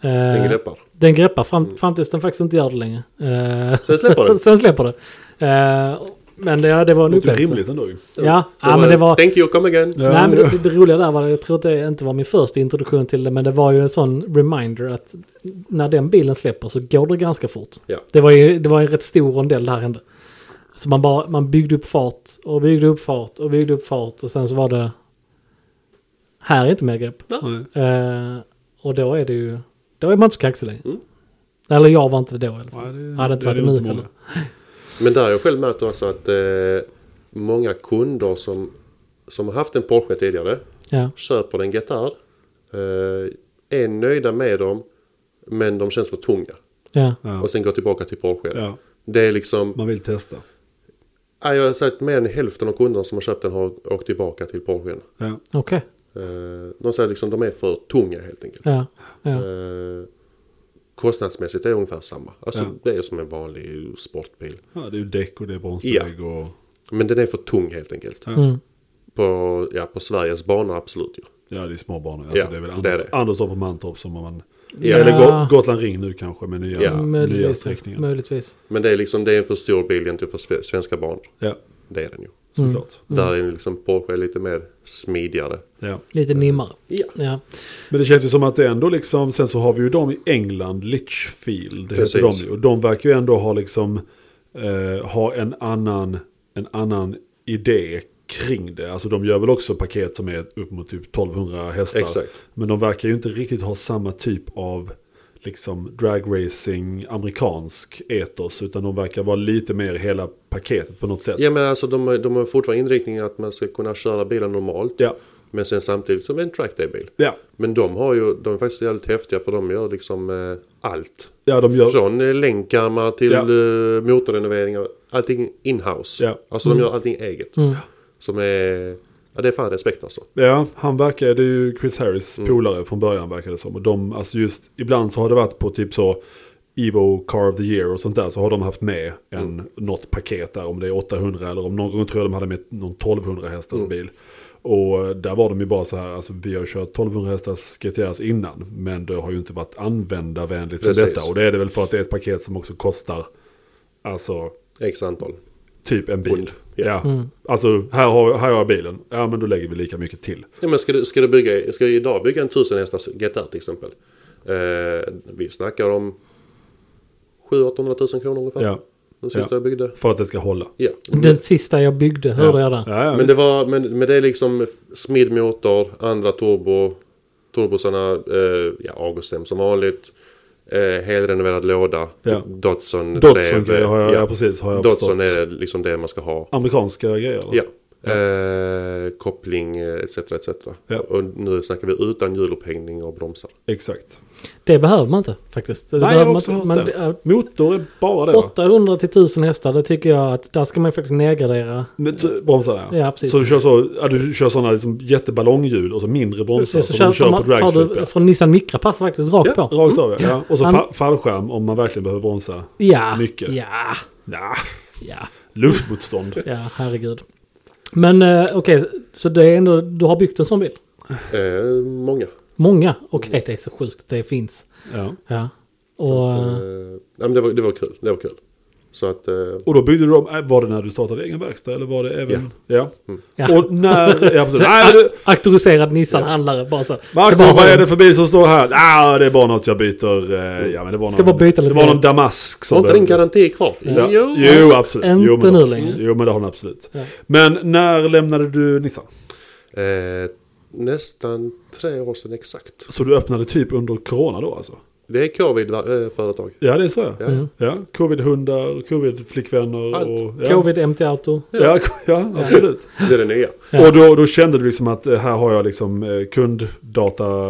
Den
Eh,
greppar.
Den greppar fram, fram tills den faktiskt inte gör det längre. Eh,
Sen släpper den.
sen släpper det. Eh, men det, ja, det var en
Det låter
upplevelse.
rimligt ändå ju.
Ja,
Så,
ja, men det var...
Thank you, come again.
Ja,
nej, men
ja.
det, det roliga där var, jag tror att det inte var min första introduktion till det, men det var ju en sån reminder att när den bilen släpper så går det ganska fort.
Ja.
Det var ju det var en rätt stor rondell det här hände. Så man, bara, man byggde upp fart och byggde upp fart och byggde upp fart och sen så var det... Här är inte mer grepp.
Nej.
Eh, och då är det ju... Då är man inte så kaxig längre.
Mm.
Eller jag var inte det då i alla fall.
Nej, det-
Hade inte
det är
varit
nog
nu
inte många.
heller.
Men där har jag själv märkt alltså att eh, många kunder som, som har haft en Porsche tidigare
Ja.
köper en GTR, eh, är nöjda med dem, men de känns för tunga.
Ja.
Ja.
Och sen går tillbaka till Porsche.
ja,
Det är liksom,
man vill testa.
ja, jag har sagt mer än hälften av kunderna som har köpt den har åkt tillbaka till Porsche.
Ja.
Okej.
Eh, de säger liksom de är för tunga helt enkelt.
Ja. Ja.
Eh, kostnadsmässigt är det ungefär samma. Alltså
Ja.
det är som en vanlig sportbil.
ja, det är ju däck och det är bromsbelägg och...
Men den är för tung helt enkelt.
Ja.
Mm.
På, ja, på Sveriges banor absolut ju.
Ja, det är små banor. Alltså,
Ja,
det är väl
det är
Anders,
det.
Anderstorp och Mantorp som man...
Ja.
Eller Go- Gotland Ring nu kanske med nya,
Ja.
nya
möjligtvis.
sträckningar.
möjligtvis.
Men det är liksom det är en för stor bil egentligen för sve- svenska banor.
Ja,
Det är den ju.
Mm. såklart.
Där är liksom Porsche lite mer smidigare.
Ja.
Lite nimmare.
Ja.
Ja.
Men det känns ju som att det ändå liksom, sen så har vi ju dem i England, Litchfield heter de
Precis.
ju. Och de verkar ju ändå ha liksom, eh, ha en annan, en annan idé kring det. Alltså de gör väl också paket som är upp mot typ 1200 hästar.
Exakt.
Men de verkar ju inte riktigt ha samma typ av liksom dragracing, amerikansk etos. Utan de verkar vara lite mer hela paketet på något sätt.
Ja men alltså de, har- de har fortfarande inriktningen att man ska kunna köra bilen normalt.
Ja,
Men sen samtidigt som en trackday-bil.
ja,
Men de har ju, de är faktiskt jävligt häftiga för de gör liksom eh, allt.
ja de gör...
Från eh, länkarmar till
Ja.
eh, motorrenoveringar. Allting in-house.
Ja. Mm.
Alltså de gör allting eget. Som är... Ja det är fan respekt alltså.
Ja, han verkar, det är ju Chris Harris
Mm.
polare från början verkar det som. Och de, alltså just, ibland så har det varit på typ så Evo Car of the Year och sånt där. Så har de haft med en,
Mm.
något paket där, om det är 800 eller om någon gång tror jag de hade med någon 1200 hästars
Mm.
bil. Och eh, där var de ju bara så här, alltså vi har kört 1200 hästars GTRs innan. Men det har ju inte varit användarvänligt som
Precis.
detta. Och det är det väl för att det är ett paket som också kostar, alltså
X antal.
typ en bil.
Pund, ja.
Ja, alltså här har, här har jag bilen. Ja, men då lägger vi lika mycket till.
Ja, men ska, du, ska, du bygga, ska du idag bygga en 1000 hästars GTR till exempel. Eh, vi snackar om 700 000 kronor ungefär.
Ja.
Den sista
Ja.
jag byggde.
För att det ska hålla.
Ja.
Den sista jag byggde hörde jag där.
Ja, ja,
Men det var, men, men det är liksom smidd motor, andra turbo, turbosarna, eh, ja Augustem som vanligt. Eh, helrenoverad låda,
Ja.
Dodson,
Dodson
drev,
grejer har jag,
ja.
ja. precis, har jag
Dodson
förstått.
är liksom det man ska ha.
Amerikanska grejer? eller?
Ja. Eh, koppling eh, etc. etc.
Ja.
Och nu snackar vi utan hjulupphängning och bromsar.
Exakt.
Det behöver man inte faktiskt. Det
Nej, jag
behöver
har
man
också
inte,
hört
men
det.
det är
Motor är bara det va?
800 till 1000 hästar, det tycker jag att där ska man faktiskt nedgradera.
Men t- Bromsar ja.
Ja, precis.
Så du kör, så, ja, du kör sådana liksom jätteballongljud och så mindre bromsar
Precis,
som du kör på
man- tar
dragstrip.
du från Nissan Micra passar faktiskt rakt
Ja,
på. Mm.
rakt av ja. ja. Och så
Han-
fa- fallskärm om man verkligen behöver bromsa.
Ja,
Mycket.
ja,
Ja.
ja,
Luftmotstånd.
ja, herregud. Men eh, okej, så det är ändå, du har byggt en sån bil?
Eh, många.
Många? Okej,
Mm.
det är så sjukt att det finns.
ja.
Ja.
Så
Och,
att, eh, nej, men det, var, det var kul. Det var kul. Så att eh,
Och då byggde du om, äh, var det när du startade egen verkstad eller var det även? Ja.
ja.
Och när, ja precis. Nej,
A-
du,
auktoriserad Nissan-handlare bara så.
Marco,
Ska bara-
vad är det för bil som står här? Ah, det är bara något jag byter. Eh, ja, men det var
Ska
någon,
bara byta lite
Det var
grann.
någon damask.
har inte
den-
din garanti kvar?
Ja. Jo, absolut.
Inte
jo, men
nu
då-
längre.
Jo, men det har den absolut.
Ja.
Men när lämnade du Nissan?
Eh, nästan tre år sedan exakt.
Så du öppnade typ under corona då alltså?
Det är Eh, covid-företag.
Ja, det är så. Ja.
Ja. Mm.
Ja, covid-hundar, covid-flickvänner
Allt.
och... Ja.
Covid, MT-auto.
Ja, ja, absolut.
Det är det nya.
Ja.
Och då, då kände du liksom att eh, här har jag liksom eh, kunddata,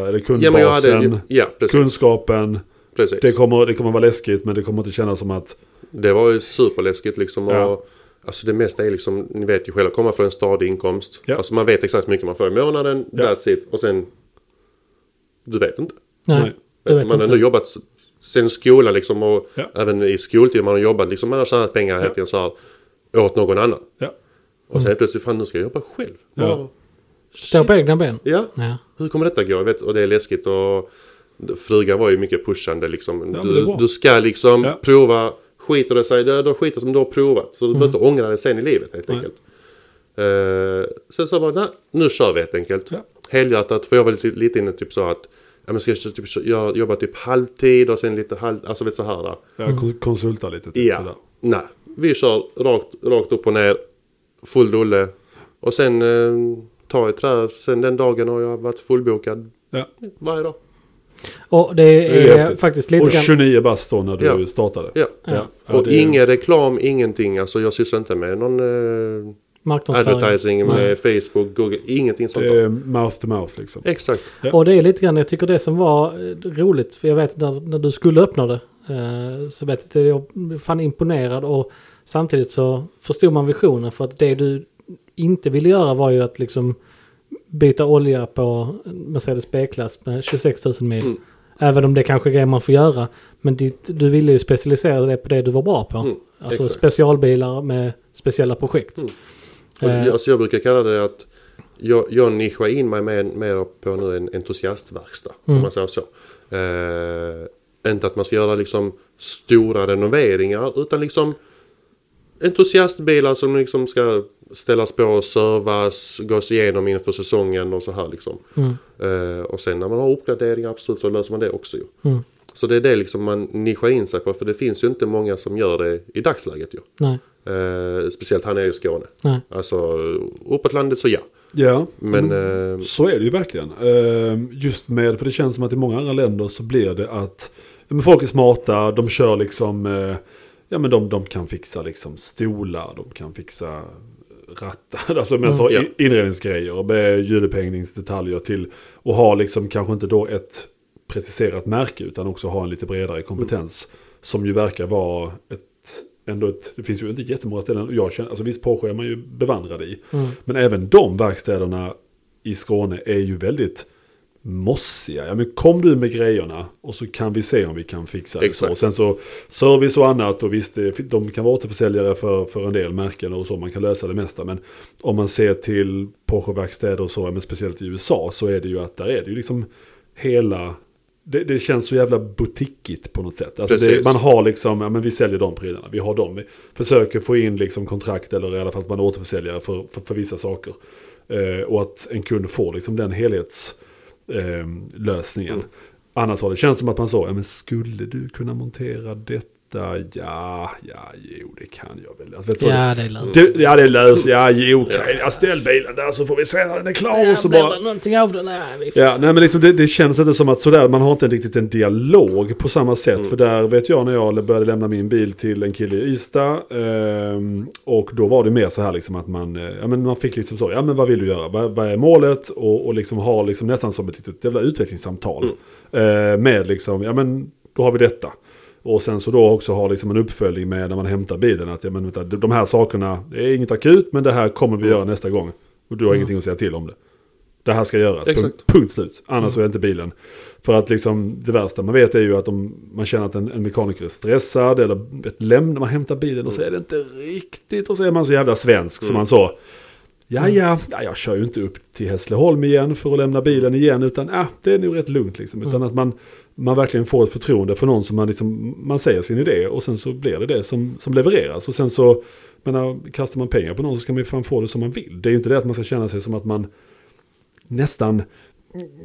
eller
Ja, men jag
kundbasen,
hade, ja precis.
kunskapen.
precis.
Det kommer, det kommer vara läskigt, men det kommer inte kännas som att...
Det var ju superläskigt liksom. Och,
Ja.
Alltså det mesta är liksom, ni vet ju själva, komma från en stadig inkomst.
Ja.
Alltså man vet exakt hur mycket man får i månaden,
Ja.
that's it. Och sen, du vet inte.
Nej,
Nej.
jag vet
man
inte.
har ändå jobbat sen skolan liksom och
Ja.
även i skoltid. Man har jobbat liksom, man har tjänat pengar hela tiden så här åt någon annan.
Ja.
Och sen plötsligt, fan nu ska jag jobba själv.
Mm. Ja.
Ja.
Stå på egna ben.
ja.
Ja.
Hur kommer detta gå? Jag vet, och det är läskigt och Frugan var ju mycket pushande liksom.
Ja, men det är
du,
bra.
du ska liksom
Ja.
prova, skiter det sig, då, då skiter som du har provat. Så du behöver inte ångra det sen i livet helt
Mm. Nej.
enkelt. Eh, sen så bara, nej, nu kör vi helt enkelt.
Ja.
Helhjärtat, för jag var lite, lite inne typ så att, ja men ska jag typ, jag jobba typ halvtid och sen lite halv, alltså vet så här. Där.
Jag kon-
Mm.
konsultar lite. Typ,
Ja,
sådär.
nej. Vi kör rakt, rakt upp och ner. Full rulle. Och sen eh, tar jag trä. Sen den dagen har jag varit fullbokad
Ja.
varje dag.
Och det
Det är
är
häftigt.
Eh, faktiskt lite
Och
grann...
29 bast då när du
Ja.
startade.
Ja.
Ja.
Ja,
och
det är-
ingen reklam, ingenting. Alltså jag sysslar inte med någon eh,
Marknadsföring.
advertising med Facebook, Google, ingenting sånt.
Det
där.
är mouth to mouth liksom.
Exakt.
Ja.
Och det är lite grann, jag tycker det som var eh, roligt, för jag vet när, när du skulle öppna det, eh, så vet jag, att jag blev fan imponerad och samtidigt så förstod man visionen för att det du inte ville göra var ju att liksom byta olja på Mercedes B-klass med 26 000 mil.
Mm.
Även om det kanske är grejer man får göra. Men ditt, du ville ju specialisera dig på det du var bra på.
Mm,
alltså
exakt.
specialbilar med speciella projekt.
Mm. Och,
Eh,
jag- alltså jag brukar kalla det att jag, jag nischar in mig mer, mer på nu en entusiastverkstad.
Mm.
Om man säger så. Eh, inte att man ska göra liksom stora renoveringar utan liksom entusiastbilar som liksom ska ställas på, och servas, gås igenom inför säsongen och så här liksom.
Mm.
Eh, och sen när man har uppgraderingar absolut så löser man det också ju.
Mm.
Så det är det liksom man nischar in sig på för det finns ju inte många som gör det i dagsläget ju.
Nej,
Eh, speciellt här nere i Skåne.
nej.
Alltså uppåt landet så ja.
Ja,
Men eh,
så är det ju verkligen. Ehm, Just med, för det känns som att i många andra länder så blir det att ja, men folk är smarta, de kör liksom, eh, ja men de, de kan fixa liksom stolar, de kan fixa rattar, alltså men tar
Mm. Ja.
i- inredningsgrejer med ljudupphängningsdetaljer till och ha liksom kanske inte då ett preciserat märke utan också ha en lite bredare kompetens som ju verkar vara ett Ändå ett, det finns ju inte jättemånga ställen, och jag känner, alltså visst Porsche är man ju bevandrad i. Men även de verkstäderna i Skåne är ju väldigt mossiga. Ja, men kom du med grejerna och så kan vi se om vi kan fixa det. Så.
Exakt.
Och sen så service och annat och visst, det- de kan vara återförsäljare för, för en del märken och så, man kan lösa det mesta. Men om man ser till Porsche-verkstäder och så, ja, men speciellt i USA, så är det ju att där är det ju liksom hela... Det, det känns så jävla butikigt på något sätt. Alltså det,
Precis.
man har liksom, ja men vi säljer de prylarna, vi har dem. Vi försöker få in liksom kontrakt eller i alla fall att man är återförsäljare för, för, för vissa saker. Eh, och att en kund får liksom den helhetslösningen. Eh,
Mm.
lösningen. Annars har det känts som att man sa, ja men skulle du kunna montera detta? Ja, ja, jo det kan jag väl. Alltså, vet du, så-
Ja, det är lönt.
du, ja det löser jag, jo okej, jag ställ bilen där så får vi se när den är klar. Och så bara,
någonting av det? Nej, vi får
Ja, nej, men liksom det, det känns inte som att sådär, man har inte riktigt en dialog på samma sätt. För där vet jag när jag började lämna min bil till en kille i Ystad. ehm, och då var det mer så här liksom att man, eh, ja, men man fick liksom så, ja men vad vill du göra, vad, vad är målet? Och, och liksom ha liksom nästan som ett litet jävla utvecklingssamtal. Eh, med liksom, ja men då har vi detta. Och sen så då också ha liksom en uppföljning med när man hämtar bilen. Att ja, men, vänta, de de här sakerna, det är inget akut men det här kommer vi göra nästa gång. Och du har ingenting att säga till om det. Det här ska göras, punkt,
Exakt.
punkt slut. Annars så är inte bilen. För att liksom det värsta man vet är ju att om man känner att en, en mekaniker är stressad eller vet, lämnar, man hämtar bilen och så är det inte riktigt. Och så är man så jävla svensk som man sa. Ja, ja, ja, jag kör ju inte upp till Hässleholm igen för att lämna bilen igen. Utan ah, det är nog rätt lugnt liksom. Utan att man, man verkligen får ett förtroende för någon som man, liksom, man säger sin idé. Och sen så blir det det som, som levereras. Och sen så, jag menar, kastar man pengar på någon så ska man ju fan få det som man vill. Det är ju inte det att man ska känna sig som att man nästan,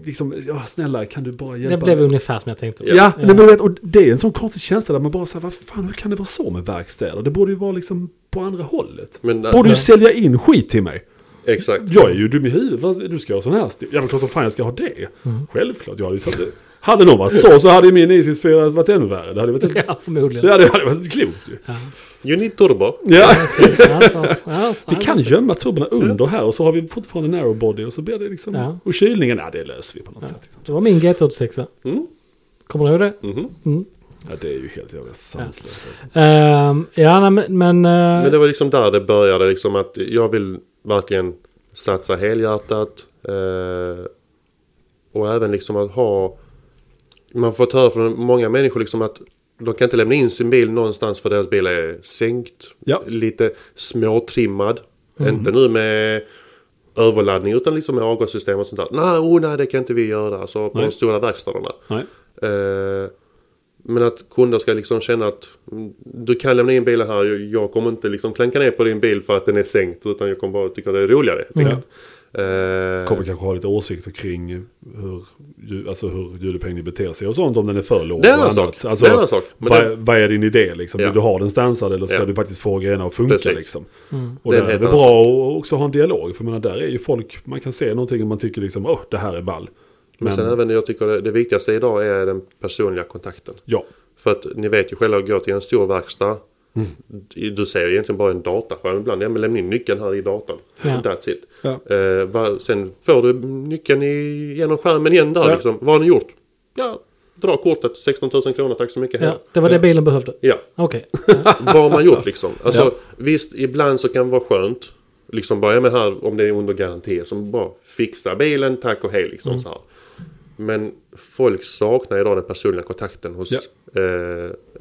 liksom, ja snälla kan du bara hjälpa
Det blev
mig?
ungefär som jag tänkte.
Ja, Nej, men du vet, och det är en sån konstig känsla där man bara säger, vad fan, hur kan det vara så med verkstäder? Det borde ju vara liksom på andra hållet.
Men-
borde ju
men-
sälja in skit till mig.
exakt.
Jag är ju dum i huvudet, Vad- du ska ha sån här stil. Ja men klart som fan jag ska ha det.
Mm.
Självklart, jag hade ju satt det. Hade någon varit så så hade ju min Isis 4 varit ännu värre. Det hade varit,
Ja, förmodligen.
det hade, hade varit klokt ju.
You need turbo.
Ja.
Ja, så- ja, så-
Vi kan gömma turborna under här och så har vi fortfarande narrowbody och så blir det liksom...
Ja.
Och kylningen, ja det löser vi på något sätt. Liksom.
Det var min G86. Kommer du ihåg det?
Ja det är ju helt jävla sanslöst alltså.
Ehm, ja, nej, men... men, eh,
Men det var liksom där det började. Liksom att jag vill verkligen satsa helhjärtat. Eh, och även liksom att ha... Man får höra från många människor liksom att de kan inte lämna in sin bil någonstans för deras bil är sänkt.
Ja. Mm.
Lite småtrimmad. Inte nu med överladdning utan liksom med avgassystem och sånt där. Nej, oh, nej det kan inte vi göra. Alltså på
Nej.
de stora verkstäderna.
Nej.
Eh, men att kunder ska liksom känna att mm, du kan lämna in bilen här. Jag- Jag kommer inte liksom klanka ner på din bil för att den är sänkt. Utan jag kommer bara tycka det är roligare. helt
Mm.
enkelt. Eh,
Kommer kanske ha lite åsikter kring hur, ju- alltså hur julepengningen beter sig och sånt om den är för låg.
Det är en
och
annan
annat.
sak.
Alltså,
Det är en annan sak. Men
vad,
den-
vad är din idé liksom?
Ja.
Vill du ha den stansad eller ska
Ja.
du faktiskt få grejerna att funka
Precis.
liksom?
Mm.
Och
Det är
det
en
är
helt
det
annan
bra att också ha en dialog. För jag menar, där är ju folk, man kan se någonting och man tycker liksom, åh, det här är ball.
men sen även jag tycker det, det viktigaste idag är den personliga kontakten.
ja.
För att ni vet ju själva, gå till en stor verkstad. Du ser ju egentligen bara en dataskärm ibland. Ja men lämna in nyckeln här i datan.
Ja.
That's it.
Ja.
Eh, va, sen får du nyckeln i, genom skärmen igen där
Ja.
liksom. Vad har ni gjort? Ja, dra kortet 16 000 kronor, tack så mycket. här.
Ja, det var det bilen behövde.
ja.
Okej.
vad har man gjort liksom? Alltså,
Ja.
Visst, ibland så kan det vara skönt. Liksom bara, ja men här om det är under garanti. Som bara fixa bilen, tack och hej liksom så här. Men folk saknar idag den personliga kontakten hos, eh,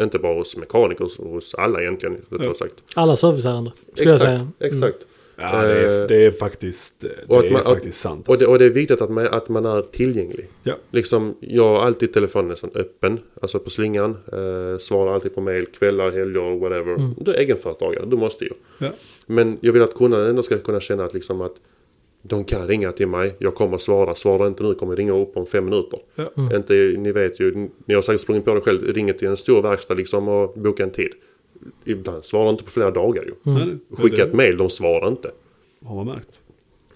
inte bara hos mekaniker, hos, hos alla egentligen. rättare
Ja.
Sagt.
Alla serviceärenden skulle
Exakt,
jag säga. Mm.
exakt.
Ja, det är,
Eh,
det är faktiskt, det
och att
är
man- att-
faktiskt sant. alltså.
Och det, och det är viktigt att man, att man är tillgänglig.
Ja.
Liksom, jag har alltid telefonen nästan öppen, alltså på slingan. Eh, svarar alltid på mail, kvällar, helger, whatever.
Mm.
Du är egenföretagare, du måste ju.
Ja.
Men jag vill att kunderna ändå ska kunna känna att, liksom, att de kan ringa till mig, jag kommer svara. Svarar inte nu kommer jag ringa upp om fem minuter.
Ja.
Inte, ni vet ju, ni har säkert sprungit på det själv, ringer till en stor verkstad liksom, och bokar en tid. Ibland svarar de inte på flera dagar ju.
Nej, nej, Mm. det-
Skicka ett mail, de svarar inte.
Har man märkt.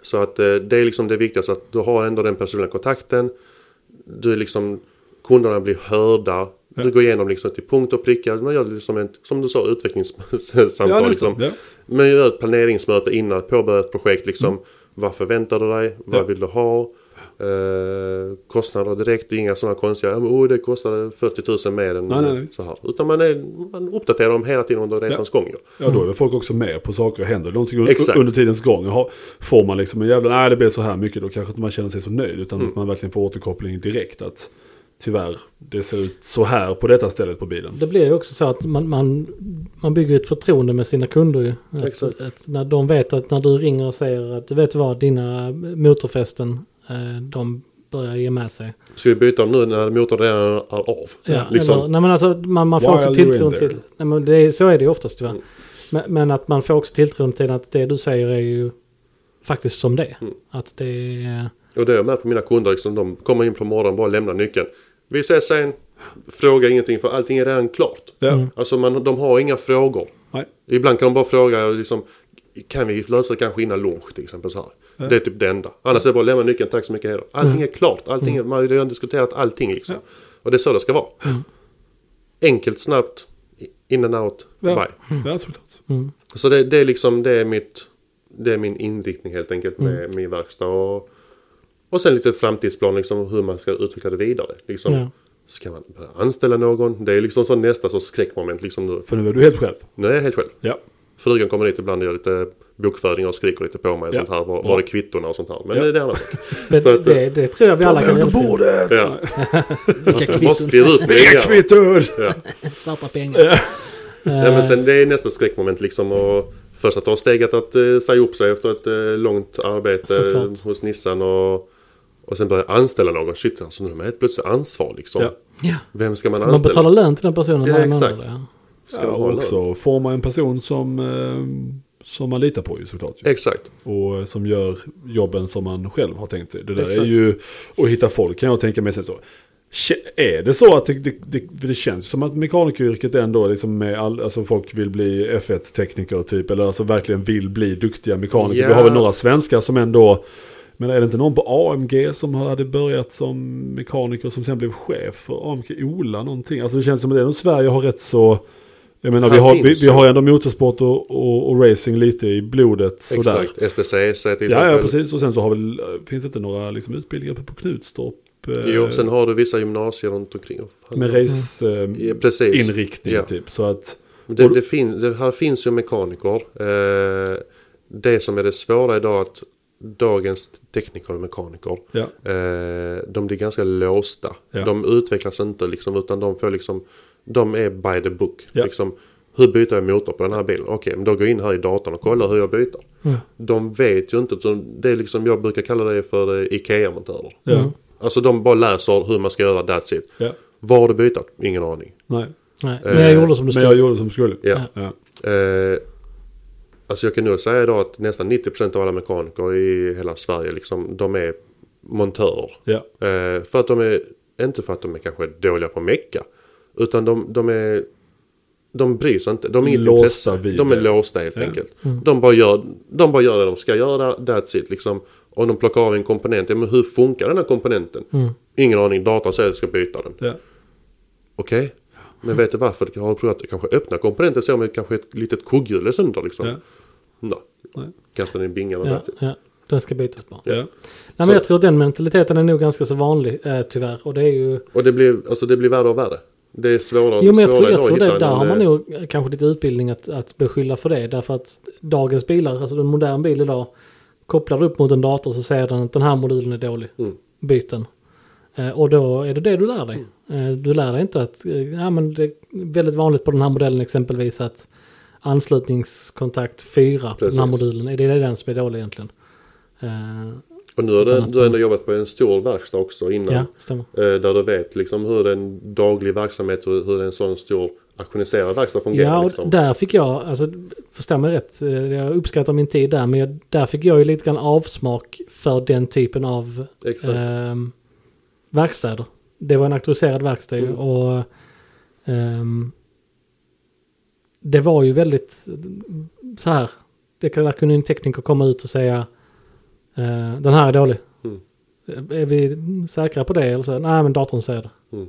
Så att eh, det är liksom det viktigaste att du har ändå den personliga kontakten. Du är liksom, kunderna blir hörda. Du går igenom liksom till punkt och pricka. Man gör liksom ett, som du sa, utvecklingssamtal.
Ja, just det.
liksom.
Ja.
Man gör ett planeringsmöte innan, påbörjar ett projekt. Liksom. Vad förväntar du dig? Vad
Mm. Ja.
vill du ha? Eh, kostnader direkt, inga sådana konstiga, ja, men, oh, det kostade 40 000 mer än
Nej, nej, visst.
så här. Utan man, är, man uppdaterar dem hela tiden under resans gång. ju.
Ja, då är väl folk också med på saker och händer någonting un-
Exakt.
under tidens gång. Har- Får man liksom en jävla, nej det blev så här mycket, då kanske inte man känner sig så nöjd. Utan
Mm.
att man verkligen får återkoppling direkt. Att tyvärr, det ser ut så här på detta stället på bilen.
Det blir ju också så att man, man, man bygger ett förtroende med sina kunder ju. Att,
Exakt.
Att när de vet att när du ringer och säger att du vet vad, dina motorfästen, eh, de börjar ge med sig.
Ska vi byta dem nu när motorn redan är av?
Ja,
Liksom.
eller, nej, men alltså, man, man får
While
också
you're in
tilltron
there.
till... Nej, men det är, så är det ju oftast tyvärr. Men, men att man får också tilltron till att det du säger är ju faktiskt som det är.
Mm.
Att det är...
Och det är jag med på mina kunder, liksom, de kommer in på morgonen bara lämnar nyckeln. Vi ses sen, fråga ingenting för allting är redan klart.
Ja.
Alltså man, de har inga frågor.
Nej.
Ibland kan de bara fråga liksom, kan vi lösa det kanske innan lunch till exempel så här. Det är typ det enda. Annars är det bara lämna nyckeln, tack så mycket, hejdå.
Mm.
Allting är klart, allting, är- man har redan diskuterat allting liksom. Och det är så det ska vara.
Mm.
Enkelt, snabbt, in and out,
Ja,
bye.
ja såklart.
Mm.
Så det, det är liksom, det är mitt, det är min inriktning helt enkelt med
Mm.
min verkstad. Och, och sen lite framtidsplan, liksom hur man ska utveckla det vidare. Liksom.
Ja.
Ska man börja anställa någon? Det är liksom så nästa så skräckmoment. Liksom nu.
För nu är du helt själv.
nu är jag helt själv.
Ja.
Frugan kommer dit ibland och gör lite bokföring och skriker lite på mig. Och
Ja.
sånt här, var,
Bra.
var är kvittona och sånt här. Men
Ja.
det är en annan sak.
Det,
Så att, eh,
det, det tror jag vi alla kan relatera till.
bordet!
Ja.
Vilka
Bara
kvitton,
skriv ut
Vilka
pengar.
kvitton!
svarta pengar.
Ja,
Eh.
men sen det är nästa skräckmoment liksom. Och först att ta steget att eh, säga upp sig efter ett eh, långt arbete
Såklart.
eh, hos Nissan. Och, och sen börja anställa någon. Shit, alltså nu är man helt plötsligt ansvar liksom.
Ja.
Ja.
Vem ska man
Man
anställa?
betalar lön till den personen
Ja,
varje månad.
exakt.
Ja.
Ska
Ja,
man ha
och
lön?
också forma en person som, eh, som man litar på ju såklart. Ju.
Exakt.
Och eh, som gör jobben som man själv har tänkt sig. Det där är
Exakt.
ju att hitta folk kan jag tänka mig. Sen så. Kä- Är det så att det, det, det, det känns som att mekanikeryrket ändå liksom med all, alltså folk vill bli F1-tekniker typ. Eller alltså verkligen vill bli duktiga mekaniker. Vi
Ja.
har väl några svenskar som ändå... Men är det inte någon på AMG som hade börjat som mekaniker som sen blev chef för AMG? Ola någonting. Alltså det känns som att ändå Sverige har rätt så... Jag menar vi
Här
har, vi,
finns
vi har ändå motorsport och, och, och racing lite i blodet sådär.
Exakt. STCC till
Ja,
exempel.
ja, precis. Och sen så har väl, finns det inte några liksom, utbildningar på, på Knutstorp? eh,
Jo, sen har du vissa gymnasier runt omkring. Vad fan
Med
heter
raceinriktning
det? ja, precis.
inriktning
Ja.
typ. Så att,
Men Det, det, fin, det här finns ju mekaniker. Eh, det som är det svåra idag är att dagens tekniker och mekaniker,
Ja.
eh, de blir ganska låsta.
Ja.
De utvecklas inte liksom, utan de får liksom, de är by the book.
Ja.
Liksom, hur byter jag motor på den här bilen? Okej, men då går jag in här i datorn och kollar hur jag byter. De vet ju inte, utan det är liksom, jag brukar kalla det för eh, IKEA-montörer.
Mm.
ja,
Alltså de bara läser hur man ska göra, that's it.
ja.
Vad har du bytat? Ingen aning.
Nej.
Nej, men jag
Eh,
gjorde som du
Men jag
stod.
gjorde som skulle.
Ja.
Ja.
Eh, alltså jag kan nog säga idag att nästan 90% av alla mekaniker i hela Sverige, liksom, de är montörer.
Ja.
Eh, för att de är, inte för att de är kanske dåliga på att mecka, utan de, de är, de bryr sig inte, de är inget
Låsta
intresse,
vid
de är
det.
låsta helt
Ja.
enkelt.
Mm.
De, bara gör, de bara gör det de ska göra, that's it liksom. Om de plockar av en komponent, ja, men hur funkar den här komponenten?
Mm.
Ingen aning, datorn säger att jag ska byta den.
Ja.
Okej, men vet du varför? Jag har provat att kanske öppna komponenten så med kanske ett litet kugghjul är sönder liksom.
Ja.
Nå,
Nej.
kasta den i bingan och
Ja,
that's it.
ja. Den ska bytas bara.
Ja.
Nej,
Så-
men jag tror att den mentaliteten är nog ganska så vanlig eh, tyvärr. Och det är ju...
Och det blir, alltså, det blir värre och värre. Det är svårare
Jo men
och
jag
svårare
tror, jag
idag
tror
att hitta
det, där
en,
har man
eh,
nog kanske lite utbildning att, att beskylla för det. Därför att dagens bilar, alltså en modern bil idag, kopplar du upp mot en dator så säger den att den här modulen är dålig.
Mm.
Byt den. Eh, Och då är det det du lär dig.
Mm.
Eh, Du lär dig inte att, eh, ja men det är väldigt vanligt på den här modellen exempelvis att anslutningskontakt 4 på den här
Precis.
modulen, är det är den som är dålig egentligen? Eh,
Och nu har
Utan
du,
att
du har ändå jobbat på en stor verkstad också innan.
Ja, stämmer.
Eh, där du vet liksom hur en daglig verksamhet och hur en sån stor auktioniserad verkstad fungerar.
Ja, och
liksom.
där fick jag, alltså förstå mig rätt, eh, jag uppskattar min tid där, men jag, där fick jag ju lite grann avsmak för den typen av
Exakt.
ehm, verkstäder. Det var en auktoriserad verkstad ju
Mm.
och ehm, det var ju väldigt eh, så här, det kan, där kunde en tekniker komma ut och säga eh, den här är dålig. Eh,
Mm.
Är vi säkra på det? Eller så, nej men datorn säger det.
Mm.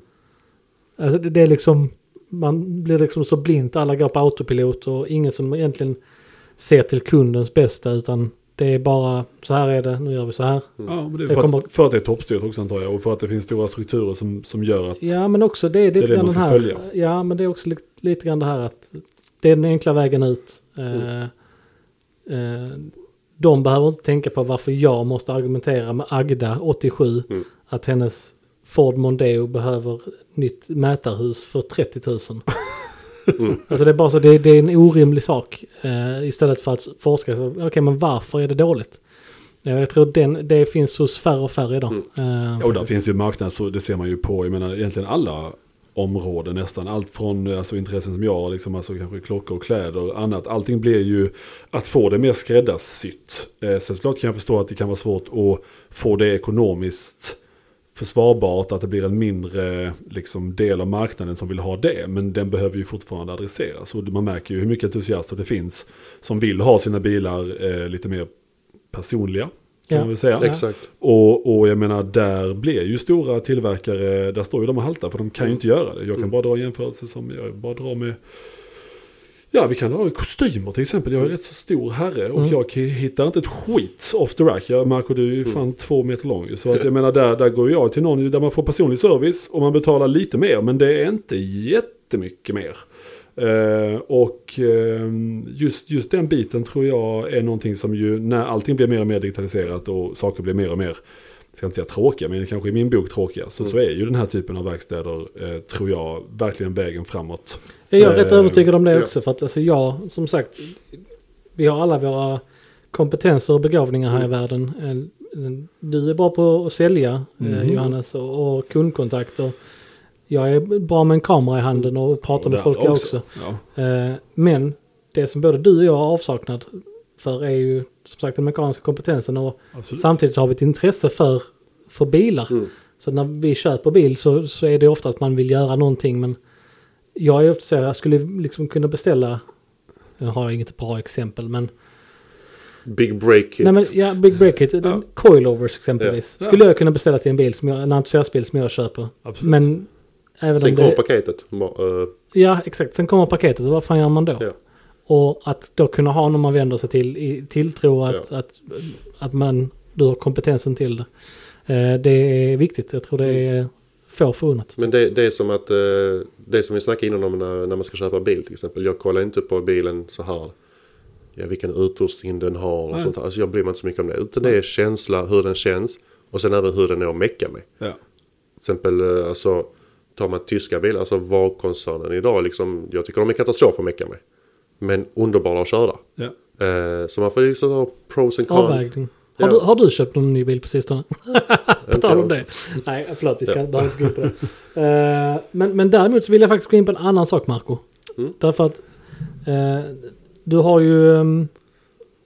Alltså det, det är liksom, man blir liksom så blint, alla går på autopilot och ingen som egentligen ser till kundens bästa utan det är bara så här är det, nu gör vi så här.
Mm.
Ja, men det är
Jag
för,
kommer-
att, för att det är toppstyrt också antar jag. Och för att det finns stora strukturer som, som gör att...
Ja men också det är lite
det
grann
man
den
ska
här,
följa.
ja men det är också li, lite grann det här att det är den enkla vägen ut.
Mm.
Eh, eh, de behöver inte tänka på varför jag måste argumentera med Agda, 87,
Mm.
att hennes Ford Mondeo behöver nytt mätarhus för 30 000.
Mm.
Alltså det är bara så, det, det är en orimlig sak. Eh, istället för att forska, så, okej men varför är det dåligt? Ja, Jag tror den, det finns hos färre och färre idag. Eh,
Mm. Ja, och där
faktiskt.
finns ju marknad, så det ser man ju på, jag menar egentligen alla områden nästan. Allt från eh, alltså, intressen som jag har, liksom, alltså, kanske klockor och kläder och annat. Allting blir ju att få det mer skräddarsytt. Eh, sen såklart kan jag förstå att det kan vara svårt att få det ekonomiskt försvarbart, att det blir en mindre eh, liksom, del av marknaden som vill ha det. Men den behöver ju fortfarande adresseras. Och man märker ju hur mycket entusiaster det finns som vill ha sina bilar eh, lite mer personliga. Kan
Ja.
man väl säga.
Exakt.
Och, och jag menar, där blir ju stora tillverkare, där står ju de och haltar, för de kan ju inte göra det. Jag kan bara dra en jämförelse som jag bara drar med... Ja, vi kan ha kostymer till exempel. Jag är
Mm.
rätt så stor herre och jag k- hittar inte ett skit off the rack. Jag, Marco, du
Mm.
är ju fan två meter lång. ju. Så att jag menar, där, där går jag till någon där man får personlig service och man betalar lite mer, men det är inte jättemycket mer. Eh, och eh, just, just den biten tror jag är någonting som ju när allting blir mer och mer digitaliserat och saker blir mer och mer, ska inte säga tråkiga, men kanske i min bok tråkiga,
Mm.
så, så är ju den här typen av verkstäder, eh, tror jag, verkligen vägen framåt.
Jag är rätt
Eh,
övertygad om det
ja.
också. För att alltså jag, som sagt, vi har alla våra kompetenser och begåvningar här i
Mm.
världen. Eh, Du är bra på att sälja, eh,
Mhm.
Johannes, och, och kundkontakt. Och jag är bra med en kamera i handen och pratar med
Där
folk jag också.
Ja.
Eh, Men det som både du och jag har avsaknad för är ju som sagt den mekaniska kompetensen. Och
Absolut.
Samtidigt så har vi ett intresse för, för bilar.
Mm.
Så när vi köper bil så, så är det ofta att man vill göra någonting men jag är ofta så här, jag skulle liksom kunna beställa, nu har jag inget bra exempel men,
Big break hit.
nej men ja, Big Break-It, den- coilovers exempelvis,
Ja.
skulle jag kunna beställa till en bil, som jag, en entusiastbil som jag köper.
Absolut.
Men även
Sen
om det...
kommer paketet. Bara, eh,
Ja exakt, sen kommer paketet och vad fan gör man då?
Ja.
Och att då kunna ha någon man vänder sig till i tilltro att, att, att man, du har kompetensen till det. Eh, Det är viktigt, jag tror det är få förunnat.
Men det, det är som att eh, det som vi snackade innan om när, när man ska köpa bil till exempel. Jag kollar inte på bilen så här. Ja, vilken utrustning den har och
Nej.
sånt här. Alltså jag bryr mig inte så mycket om det. Utan det är känsla, hur den känns. Och sen även hur den är att mecka med.
Ja.
Till exempel eh, alltså, tar man tyska bilar, alltså VAG-koncernen idag. Liksom, jag tycker de är katastrof att mecka med. Men underbara att köra.
Ja.
Eh, så man får liksom ha pros and cons.
Avvägning. Har,
Ja.
du, har du köpt någon ny bil på sistone? på
Inte
tal om
jag.
det. Nej, förlåt, vi ska
Ja.
inte behöva gå in på det. Eh, men, men däremot så vill jag faktiskt gå in på en annan sak, Marco.
Mm.
Därför att eh, du har ju ehm,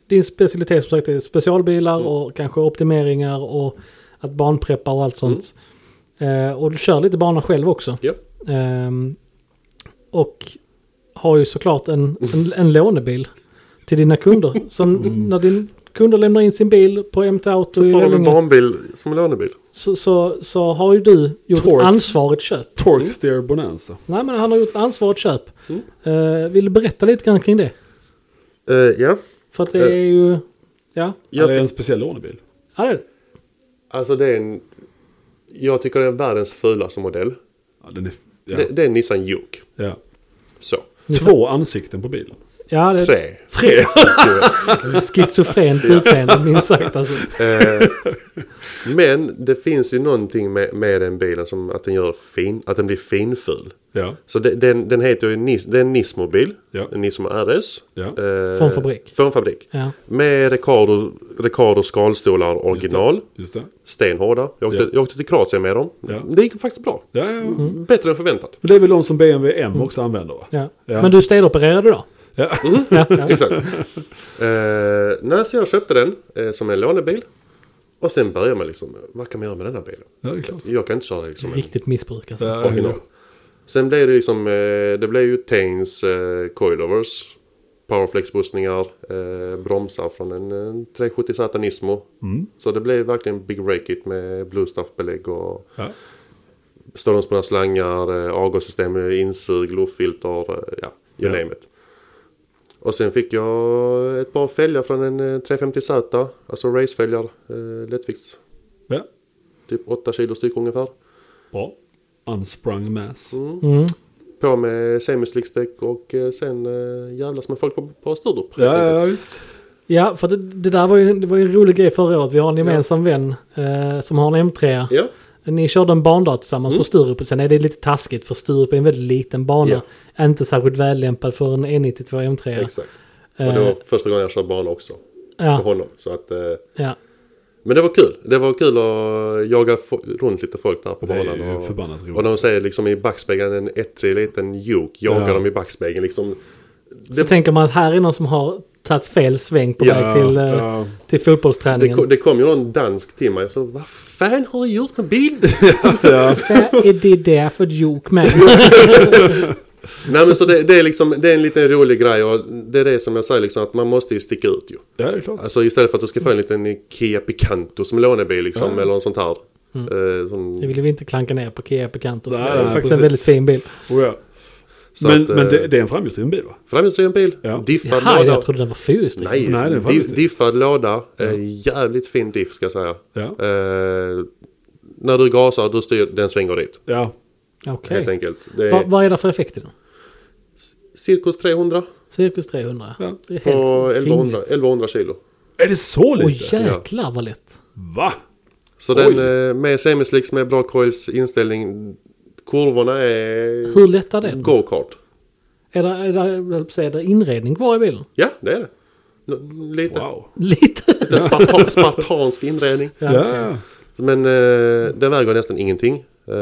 din specialitet som sagt är specialbilar
Mm.
och kanske optimeringar och att banpreppa och allt sånt.
Mm.
Eh, och du kör lite bana själv också.
Ja.
Ehm, och har ju såklart en, en, en lånebil till dina kunder. Så när din kunder lämnar in sin bil på MT Auto
Mm. Så
i
får de en
Rellunga,
barnbil som lånebil.
så, så, så har ju du gjort ett
Torx.
ansvarigt köp.
Torque Steer Bonanza.
Nej men han har gjort ett ansvarigt köp.
Mm.
Eh, vill du berätta lite grann kring det?
Eh, ja,
För att det
Eh.
är ju... Ja,
jag
det är
fick,
en speciell lånebil.
ja det är det.
alltså det är en... Jag tycker det är världens fulaste modell.
Ja, den är, ja,
Det, det är en Nissan Juke.
ja.
Mm.
Så.
Två ansikten på bilen.
Ja, det är
Tre. Tre?
ett schizofrent utseende minst sagt alltså.
Eh, Men det finns ju någonting med, med den bilen som att den gör fin, att den blir finful.
Ja,
Så de- den, den heter ju Nis, det är en Nismo-bil.
Ja.
En Nismo RS.
Ja.
Eh,
Från fabrik.
Från fabrik.
Ja.
Med Recaro, Recaro skalstolar original.
just det.
Stenhårda. Jag åkte,
Ja.
jag åkte till Kroatien med dem.
Ja.
Det gick faktiskt bra.
Ja, ja.
Bättre än förväntat.
Men det är väl de som BMW M också använder va?
Mm. Ja.
Ja.
Men du stedopererade då?
Ja.
Ja, ja.
Exakt. eh, när så jag köpte den eh, som en lånebil. Och sen började man liksom, vad kan man göra med den här bilen?
Ja, det är klart.
Jag kan inte köra liksom en
Riktigt missbruk alltså.
Ja,
original. Sen blev det liksom, eh, det blev ju Tains eh, coilovers. Powerflex-bussningar, eh, bromsar från en eh, 370 Z Nismo. Så det blev verkligen Big Rake It med Bluestuff-belägg och
Ja.
stålhundsbundna slangar, eh, avgassystem, eh, insug, luftfilter, eh, ja, you
Ja.
name it. Och sen fick jag ett par fälgar från en eh, 350Z, alltså racefälgar, eh, lättvikt,
ja,
typ 8 kilo styck ungefär.
bra. Unsprung mass.
Mm.
På med semislickstäck och eh, sen eh, jävlas med folk på, på Sturup. helt
Ja, ja,
enkelt.
visst.
Ja, för det, det där var ju, det var ju en rolig grej förra året. Vi har en gemensam vän eh, som har en M3.
ja.
Ni körde en bandag tillsammans på Sturup. Sen är det lite taskigt för Sturup är en väldigt liten bana. Inte särskilt vällämpad för en E E92 M3.
exakt. Och det
Eh.
var första gången jag körde bana också. För
Eh, ja,
honom. Så att, eh,
ja.
men det var kul. Det var kul att jaga fo- runt lite folk där på
Det är
banan.
ju
och-
förbannat roligt.
Och de säger liksom i backspegeln en ettrig liten juk jagar
Ja. Mm.
dem i backspegeln liksom.
Så tänker man att här är någon som har tagit fel sväng på
Ja,
väg till, eh,
ja.
till
Det,
fotbollsträningen.
ko- det kom ju någon dansk till mig. Så vad fan har du gjort med bilen?
Vad är det där för jok med?
Nej men så det, det är liksom, det är en liten rolig grej och det är det som jag säger liksom att man måste ju sticka ut ju.
Ja, det är klart.
Alltså istället för att du ska få en liten Kia Picanto som lånebil liksom eller något sånt här. Eh, sån-
Det vill vi inte klanka ner på Kia Picanto. för Det
Nej,
är
nej,
faktiskt en
precis.
väldigt fin bil.
Oh, ja.
så
men
att,
men det,
eh,
det är en framhjulsdriven bil va?
Framhjulsdriven bil,
Ja.
diffad
Jaha,
låda.
jag trodde den var fyrhjulsdriven.
Nej,
Nej, det är
diff,
framhjulsdriven.
diffad låda. Eh, jävligt fin diff ska jag säga.
Ja.
Eh, när du gasar, du styr, den svänger dit.
Ja,
Okej.
Helt enkelt. Det är
Va, vad är det för effekt i den?
cirkus 300
Cirkus 300?
Ja.
Det är helt
på 1100,
rimligt.
1100 kilo.
Är det så lite?
Oj jäklar vad lätt.
Va?
Så
Oj.
den eh, med semislicks med bra coils inställning. Kurvorna är
Hur lätt är det?
go-kart.
Är det, är, det, jag höll på att säga, är det inredning kvar i bilen?
Ja, det är det. N- Lite
Wow.
Lite.
lite spartan, spartansk inredning.
Ja, ja.
Men eh, den väger nästan ingenting. Eh,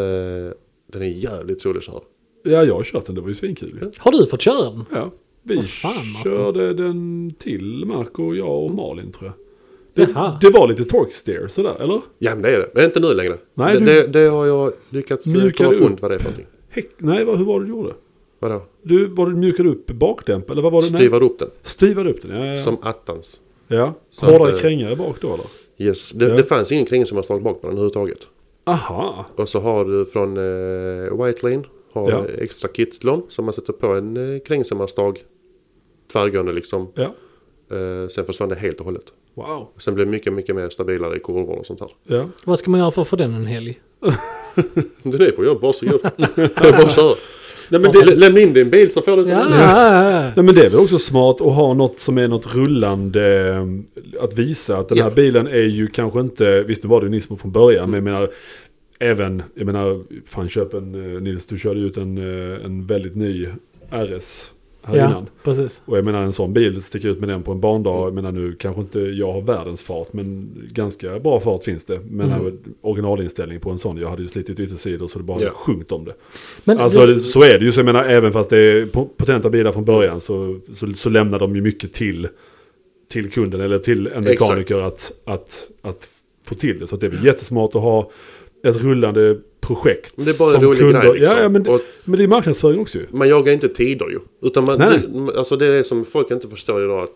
den är jävligt rolig att köra.
ja, jag har kört den. Det var ju svinkul. ju.
Har du fått köra den?
Ja. Vi
Vad fan, Marco.
körde den till Marco, jag och Malin tror jag. Det,
Jaha.
det var lite torque steer sådär, eller?
Ja men det är det. Men inte nu längre. det,
Nej, du-
det, det har jag lyckats eh,
Mjukar
komma
du
fund
upp?
vad det är för någonting.
Häck, nej, vad, hur var det du gjorde?
Vadå?
Du, var det mjukade upp bakdämp eller vad var det? Nej.
Styvar upp den.
Stivade upp den, ja. ja, ja.
Som attans.
ja.
så
Hårdare
att, eh,
krängare bak då eller?
Yes. Det,
Ja.
det fanns ingen kring som har slagit bak på den överhuvudtaget.
Aha.
Och så har du från eh, White Lane har
Ja.
extra kitlon som man sätter på en eh, kringsemmarstag. Tvärgående liksom.
Ja.
Eh, sen försvann det helt och hållet.
Wow.
Sen blev det mycket, mycket mer stabilare i kurvor och sånt här.
Ja.
Vad ska man göra för att få den en helg?
Du är på jobb, varsågod. Bara kör. Nej men
Okej.
lä- lämna in din bil så får du en sån
Ja,
här.
ja, ja, ja.
Nej men det är väl också smart att ha något som är något rullande. eh, Att visa att den här
Ja.
bilen är ju kanske inte, visst det var det ju Nismo från början, men jag menar även, jag menar, fan köp en, eh, Nils du körde ut en, eh, en väldigt ny RS här
ja,
innan.
precis.
Och jag menar en sån bil, sticka ut med den på en bandag. Jag menar nu kanske inte jag har världens fart, men ganska bra fart finns det. Men
Mm.
mm. originalinställning på en sån, jag hade ju slitit yttersidor så det bara
Ja.
sjunkit om det.
Men
Alltså
det,
det, så är det ju, så jag menar även fast det är po- potenta bilar från början så, så, så lämnar de ju mycket till, till kunden eller till
Exakt.
en mekaniker att, att, att få till det. Så att det är väl jättesmart att ha ett rullande projekt.
Men det är bara en rolig grej, liksom.
ja, ja, men, det-
Och-
men det är marknadsföring också ju.
Man jagar inte tider ju. Utan man,
Nej.
det, alltså det är det som folk inte förstår idag. att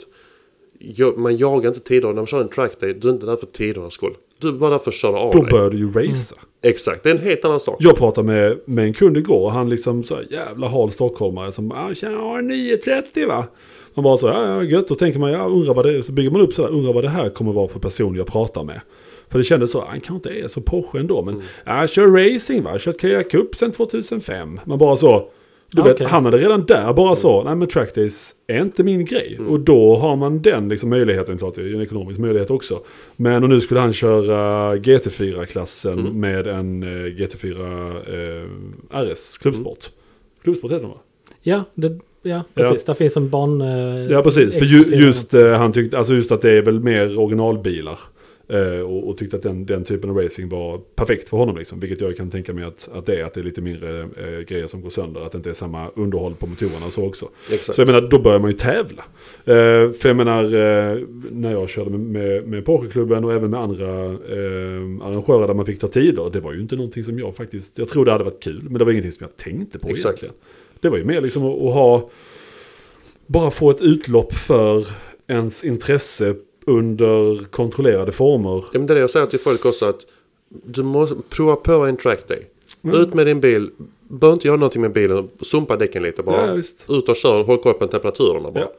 jag, Man jagar inte tider. När man kör en trackday, du är inte där för tidernas skull. Du är bara där för att köra av
Då
dig.
bör du ju racea.
Exakt, det är en helt annan sak.
Jag pratade med, med en kund igår och han liksom så här, jävla hal stockholmare som ah, tjena, ja, 9.30 va? Man bara så här, ja, ja gött, då tänker man, ja undrar vad det är, så bygger man upp sådär, undrar vad det här kommer vara för person jag pratar med. För det kändes så, "Ah, han kanske inte är så Porsche ändå, men ja, kör racing va, kört Carrera Cup sedan 2005. Man bara så, du
Ah,
vet,
okej.
han hade redan där bara så, nej men trackdays är inte min grej. Och då har man den liksom möjligheten, klart det är ju en ekonomisk möjlighet också. Men och nu skulle han köra GT4-klassen med en eh, GT4 eh, RS, klubbsport. Klubbsport heter den va?
ja, det, ja, precis. Där finns en barn... eh,
Ja precis, för ju,
exklusiv-
just, eh, han tyckte, alltså just att det är väl mer originalbilar. Eh, och, och tyckte att den, den typen av racing var perfekt för honom. Liksom, vilket jag kan tänka mig att, att det är, att det är lite mindre eh, grejer som går sönder. Att det inte är samma underhåll på motorerna och så också.
Exakt.
Så jag menar, då börjar man ju tävla. Eh, för jag menar, eh, när jag körde med, med, med Porsche-klubben och även med andra eh, arrangörer där man fick ta tider. Det var ju inte någonting som jag faktiskt, jag trodde det hade varit kul, men det var ingenting som jag tänkte på
Exakt.
egentligen. Det var ju mer liksom att, att ha, bara få ett utlopp för ens intresse under kontrollerade former.
Ja, men det är det jag säger till folk också att du måste prova på en trackday.
Mm.
Ut med din bil, behöver inte göra någonting med bilen, sumpa däcken lite bara.
Ja, visst.
Ut och kör, håll koll på temperaturerna bara.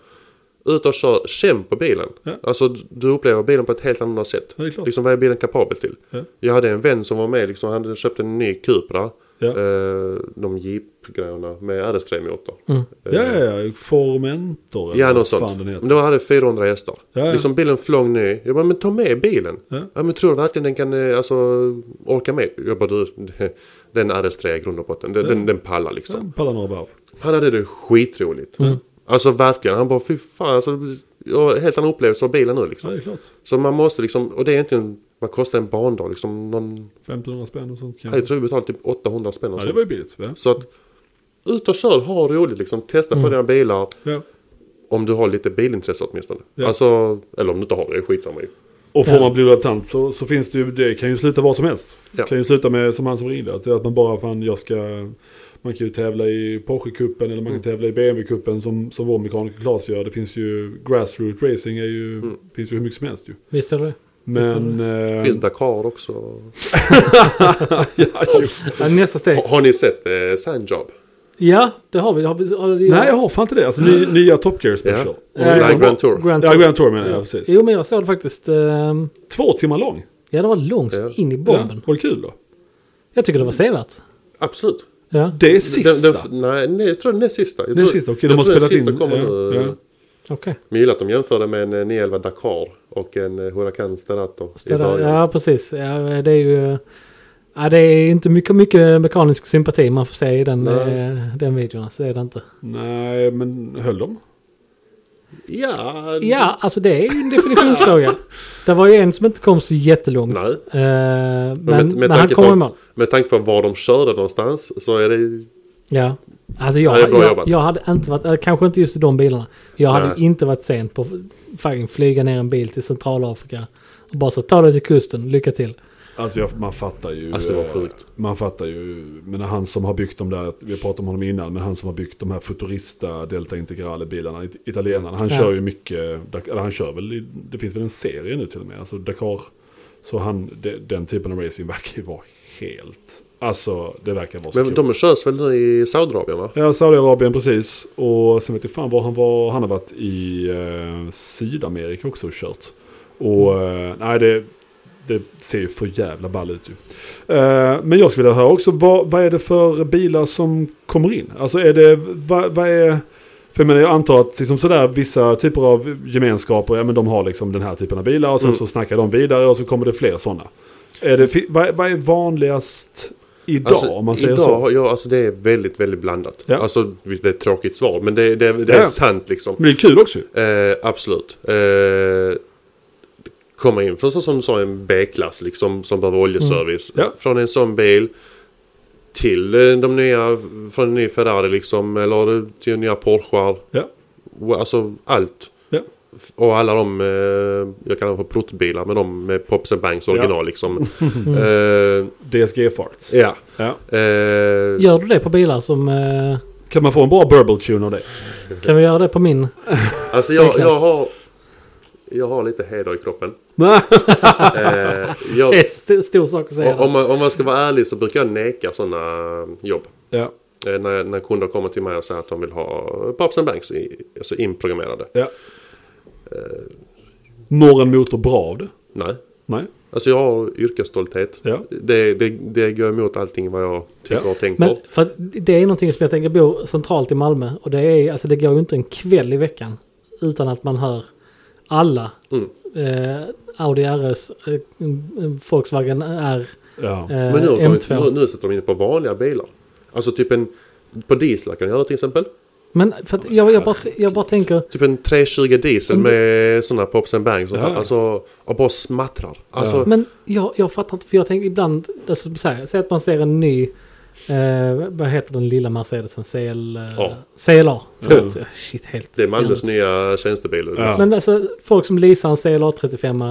Ut och kör, känn på bilen.
Ja.
Alltså du- du upplever bilen på ett helt annat sätt.
Ja, det är klart.
Liksom vad är bilen kapabel till?
Ja.
Jag hade en vän som var med, liksom, han hade köpt en ny Cupra.
Ja.
Eh, de Jeep-grejerna med RS3-motor.
Ja, ja, ja, Formentor. Eh, eller
Ja,
vad
något
Fan
sånt.
den heter.
Men då hade 400 hästar.
Ja, ja.
Liksom bilen flög ny. Jag bara, men ta med bilen.
Ja.
men tror du verkligen den kan eh, alltså, orka med? Jag bara, du, den RS3 i grund och botten. Den, den, den pallar liksom.
Ja, Mm. Pallar några varv.
Han hade det skitroligt. Alltså verkligen. Han bara, fy fan. Alltså, jag har en helt annan upplevelse av bilen nu
Ja,
liksom.
det är klart.
Så man måste liksom, och det är egentligen, vad kostar en bandag liksom? Någon,
1500 spänn och sånt kanske.
jag tror vi betalade typ 800 spänn och
Ja,
sånt.
det var ju billigt. Ja.
Så att, ut och kör, ha roligt liksom. Testa
Mm.
på dina bilar.
Ja.
Om du har lite bilintresse åtminstone.
Ja.
Alltså, eller om du inte har det, det är skitsamma ju.
Och får
Ja.
man blodadaptant så, så finns det ju, det kan ju sluta vad som helst.
Ja.
Det kan ju sluta med, som han som ringde, att, att man bara fan jag ska, man kan ju tävla i Porsche-cupen eller man kan tävla i BMW-cupen som, som vår mekaniker Claes gör. Det finns ju, grassroot racing är ju, finns ju hur mycket som helst ju.
Visst är det det?
Men... eh,
Finns Dakar också.
ja, ju.
Ja, Nästa steg.
Har, har ni sett eh, Sandjob?
Ja, det har vi. Det har vi har vi-
Nej, jag har fan inte det. Alltså ny, nya Top Gear Special.
Ja.
Och-
Eh,
Nej, Grand Tour.
Grand
Ja,
Tour.
Grand Tour menar jag, precis.
Jo, men jag såg det faktiskt. ehm,
Två timmar lång.
Ja, det var långt
Ja.
in i
Ja,
bomben.
var det kul då?
Jag tycker det var sevärt.
Absolut.
Ja,
Det är sista.
Den, den, nej, nej, jag tror den är sista. Jag
det är
tror-
sista, okej
jag
de har
tror den
spelat
sista
in.
Kommer
ja,
nu.
ja.
okej.
Men jag gillar att de jämför det med en eh, 911 Dakar och en eh, Huracan Sterato. i
Städa,
början.
ja, precis. Ja, det är ju... Ja, det är inte mycket, mycket mekanisk sympati man får se i den,
Nej.
eh, den videon. Så är det inte.
Nej, men höll de?
Ja,
Ja, alltså det är ju en definitionsfråga. Det var ju en som inte kom så jättelångt.
Nej.
Eh, men
med- med
men han
tanke
kom
på-
i mål.
med tanke på var de körde någonstans så är det...
Ja. Alltså jag,
Ja, det är bra
jag,
jobbat.
jag hade inte varit, eh, kanske inte just i de bilarna. Jag hade
Nej.
inte varit sent på att fucking flyga ner en bil till Centralafrika. Och bara så ta dig till kusten, lycka till.
Alltså jag, man fattar ju.
Alltså, det var
eh,
sjukt.
Man fattar ju. Men han som har byggt de där, vi pratade om honom innan, men han som har byggt de här futurista Delta Integrale bilarna, it- italienarna, han
Ja.
kör ju mycket, Dak- eller han kör väl, i- det finns väl en serie nu till och med, alltså Dakar. Så han, de, den typen av racing verkar ju vara helt, alltså det verkar vara så
Men
kul.
de körs väl nu i Saudiarabien va?
Ja, Saudiarabien precis. Och sen vet jag fan var han var. Han har varit i eh, Sydamerika också och kört. Och eh, nej, det, det ser ju för jävla ball ut ju. Eh, men jag skulle vilja höra också, vad, vad är det för bilar som kommer in? Alltså är det, vad, vad är... För jag, menar, jag antar att liksom sådär, vissa typer av gemenskaper, ja, men de har liksom den här typen av bilar och sen
Mm.
så snackar de vidare och så kommer det fler sådana. Är det, fi- vad, vad är vanligast idag
Alltså,
om man säger
idag,
så.
Ja, alltså det är väldigt, väldigt blandat.
Ja.
Alltså, visst, det är ett tråkigt svar, men det, det, det
Ja.
är sant liksom.
Men det är kul också ju.
Eh, absolut. Eh, komma in från så som du sa en B-klass liksom, som behöver oljeservice.
Mm. Ja.
Från en sån bil till eh, de nya, från en ny Ferrari liksom, eller till nya Porschar.
Ja.
Wow, Alltså allt.
Ja.
F- Och alla de, eh, jag kallar dem för prottbilar, men de med Pops and Bangs original liksom. eh,
DSG farts.
ja.
Ja.
Eh,
Gör du det på bilar som... Eh,
Kan man få en bra burble tune av det?
kan vi göra det på min?
Alltså jag,
Niklas.
jag har... Jag har lite heder i kroppen.
Nej.
Eh, jag,
Det är st- stor sak att säga.
o- om, man, om man ska vara ärlig så brukar jag neka sådana jobb.
Ja.
Eh, när, när kunder kommer till mig och säger att de vill ha Pops and Banks i, alltså inprogrammerade.
ja. Mår Eh, en motor bra av det?
Nej.
Nej.
Alltså jag har yrkesstolthet.
Ja.
Det, det, det går emot allting vad jag tycker
Ja.
och tänker.
Men för att det är någonting som jag tänker bor centralt i Malmö. Och det är alltså det går ju inte en kväll i veckan utan att man hör alla.
Mm.
Eh, Audi RS, eh, Volkswagen R,
Ja.
eh,
Men nu, har de kommit,
M2.
nu, nu sätter de in på vanliga bilar. Alltså typ en... På dieslar kan jag göra till exempel.
Men för att jag, jag, bara, jag bara tänker,
Typ en 320 diesel
Mm.
med sådana pops and bangs. Och
Ja,
sånt.
ja.
Alltså, och bara smattrar. Alltså,
men jag, jag fattar inte, för jag tänker ibland, alltså, så här, säg att man ser en ny, eh, vad heter den lilla Mercedesen, eh, CL,
Ja.
CLA? Förlåt, shit helt.
Det är Malmös
jävligt.
nya tjänstebil.
Ja.
Men alltså folk som leasar en CLA 35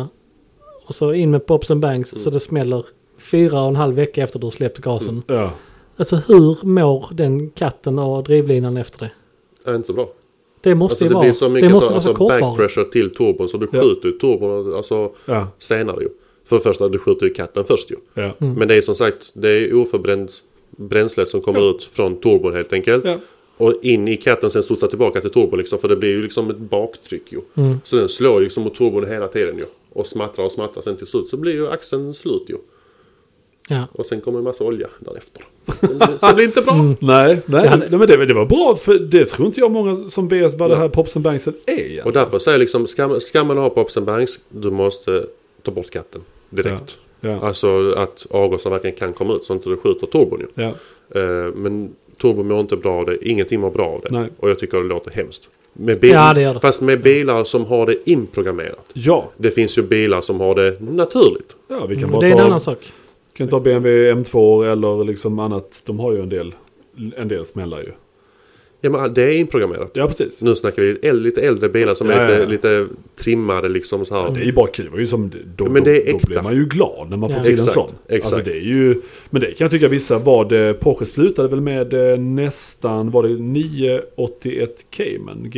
och så in med Pops and Bangs
Mm.
så det smäller fyra och en halv vecka efter du har släppt gasen.
Ja.
Alltså hur mår den katten och drivlinan efter det?
Det är inte så bra.
Det måste
Alltså,
ju
det
vara,
blir så mycket
det måste
så,
vara så
alltså, back
kortvarigt.
pressure till turbon så du
Ja.
skjuter ju turbon alltså,
Ja.
senare ju. För det första, du skjuter ju katten först ju.
Ja.
Mm.
Men det är som sagt, det är oförbränt bränsle som kommer ut från turbon helt enkelt.
Ja.
Och in i katten sen studsar tillbaka till turbon liksom. För det blir ju liksom ett baktryck ju.
Mm.
Så den slår ju liksom mot turbon hela tiden ju. Och smattrar och smattrar. Sen till slut så blir ju axeln slut ju.
Ja.
Och sen kommer en massa olja därefter. Så det blir inte bra.
Mm.
Nej, nej,
hade-
nej men det, det var bra för det tror inte jag många som vet vad det här Pops and Banksen är
Och
egentligen.
därför säger jag liksom, ska, ska man ha Pops and Bangs, du måste ta bort katten direkt.
Ja, ja.
Alltså att avgasen verkligen kan komma ut så inte det skjuter turbon ju.
Ja,
Eh, men turbon mår inte bra av det, ingenting mår bra av det.
Nej.
Och jag tycker det låter hemskt. Med bil,
Ja, det gör det.
Fast med bilar som har det inprogrammerat.
ja,
Det finns ju bilar som har det naturligt.
ja vi kan
Men
bara
det är en
ta,
annan sak.
Kan ta BMW M2 eller liksom annat. De har ju en del, en del smällar ju.
Ja men det är inprogrammerat.
Ja, precis.
Nu snackar vi äl- lite äldre bilar som
Ja,
är
ja, ja.
lite, lite trimmade liksom så här.
Det är ju bara kul. Det var ju som, då,
Men det är
då, då
äkta.
blir man ju glad när man
Ja.
får till
Exakt,
en sån. Alltså,
exakt.
det är ju, men det kan jag tycka vissa var det. Porsche slutade väl med eh, nästan, var det 981 Cayman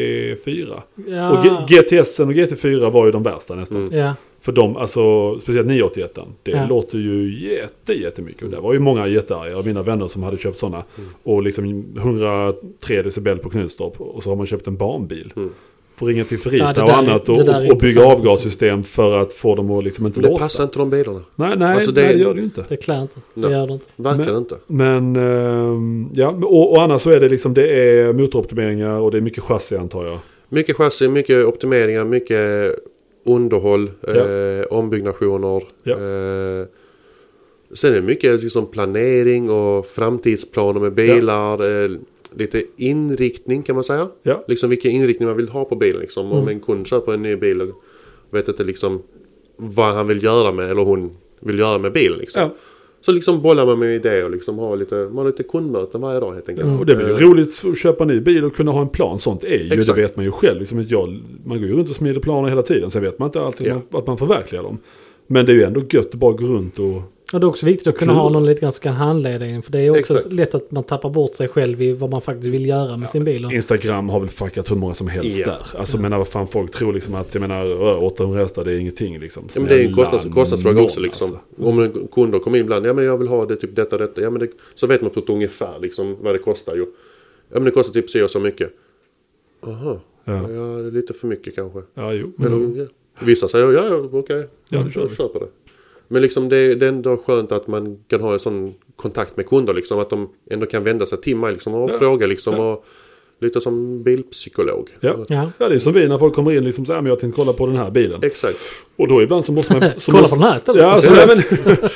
GT4.
Ja.
Och G- GTS och GT4 var ju de värsta nästan.
ja.
För de, alltså speciellt 981 det
Ja.
låter ju jätte, jättemycket. Och det var ju många jättearga av mina vänner som hade köpt sådana.
Mm.
Och liksom 103 decibel på Knutstorp och så har man köpt en barnbil. Får ringa till Ferrita
Mm. Ja, det där
och
är-
annat
det där är
och, och bygga
intressant. alltså.
avgassystem för att få dem att liksom inte
Det
låta.
passar inte de bilarna.
Nej, nej,
Alltså,
det,
det-
nej, det gör det ju inte.
Det klär inte. Det
Nej.
gör det inte.
Verkligen
Men-
inte.
Men ehm, ja, men- och, och annars så är det liksom det är motoroptimeringar och det är mycket chassi antar jag.
Mycket chassi, mycket optimeringar, mycket underhåll, eh, ombyggnationer.
Ja.
Eh, sen är det mycket liksom planering och framtidsplaner med bilar. Eh, lite inriktning kan man säga.
Ja, Mm.
Liksom vilken inriktning man vill ha på bilen. Liksom. Om en kund köper en ny bil och vet inte liksom vad han vill göra med eller hon vill göra med bilen. Liksom.
Ja.
Så liksom bollar man med idéer och liksom har lite, man har lite kundmöten varje dag helt enkelt.
Och det blir ju
Eh,
roligt att köpa en ny bil och kunna ha en plan. Sånt är ju,
Exakt.
det vet man ju själv. Liksom att jag, man går ju runt och smider planer hela tiden. Sen vet man inte alltid
Ja.
att man- att man förverkligar dem. Men det är ju ändå gött att bara gå runt och...
Och det är också viktigt att kunna
Kul.
ha någon lite grann som kan handleda en. För det är också
Exakt.
lätt att man tappar bort sig själv i vad man faktiskt vill göra med sin bil. Och,
Instagram har väl fuckat hur många som helst
Ja.
där. Alltså menar vad fan folk tror liksom att, jag menar ö, 800 hästar det är ingenting liksom.
Ja, men det är ju en
Snälla
kostnads, kostnadsfråga
nån,
också liksom.
alltså.
Om en kunder kommer in ibland, ja men jag vill ha det typ detta, detta. Ja men det, så vet man på ett ungefär liksom vad det kostar ju. Ja men det kostar typ så och så mycket. Aha,
Ja.
ja, det är lite för mycket kanske.
Ja, jo.
Eller, ja. Vissa säger ja, ja okej,
Ja, då
jag
kör vi.
köper det. Men liksom det, det är ändå skönt att man kan ha en sån kontakt med kunder liksom. Att de ändå kan vända sig till mig liksom och
Ja.
fråga liksom.
Ja.
Och, Lite som bilpsykolog.
Ja.
Ja.
ja, det är som vi när folk kommer in liksom så här, men jag tänkte kolla på den här bilen.
Exakt.
Och då ibland så måste man... Så
Kolla
måste,
på den här istället.
Ja, alltså, nej, men,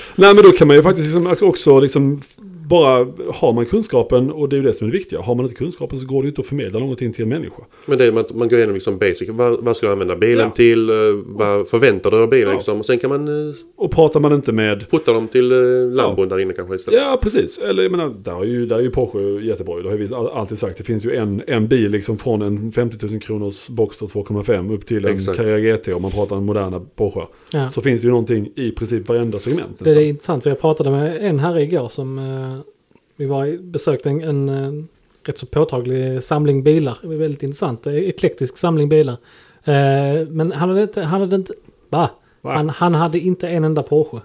nej, men då kan man ju faktiskt liksom också liksom bara, har man kunskapen och det är ju det som är det viktiga. Har man inte kunskapen så går det ju inte att förmedla någonting till en människa.
Men det är man, man går igenom liksom basic. Vad, vad ska du använda bilen
Ja.
till? Eh, Vad förväntar du dig av bilen?
Ja.
Liksom? Och sen kan man eh,
Och pratar man inte med...
putta dem till eh, lambon där inne kanske istället.
Ja, precis. Eller jag menar, där är ju, där är ju Porsche jättebra. Det har ju vi all- alltid sagt. Det finns ju en, en bil liksom från en 50 000 kronors Boxster 2,5 upp till en
Exakt.
Carrera GT om man pratar om moderna Porsche.
Ja.
Så finns det ju någonting i princip varenda segment.
Det är
nästan.
intressant för jag pratade med en herre igår som eh, vi var i, besökte en, en eh, rätt så påtaglig samling bilar. Det är Väldigt intressant, eh, eklektisk samling bilar. Eh, men han hade inte, han hade inte, va?
Va?
Han, han hade inte en enda Porsche.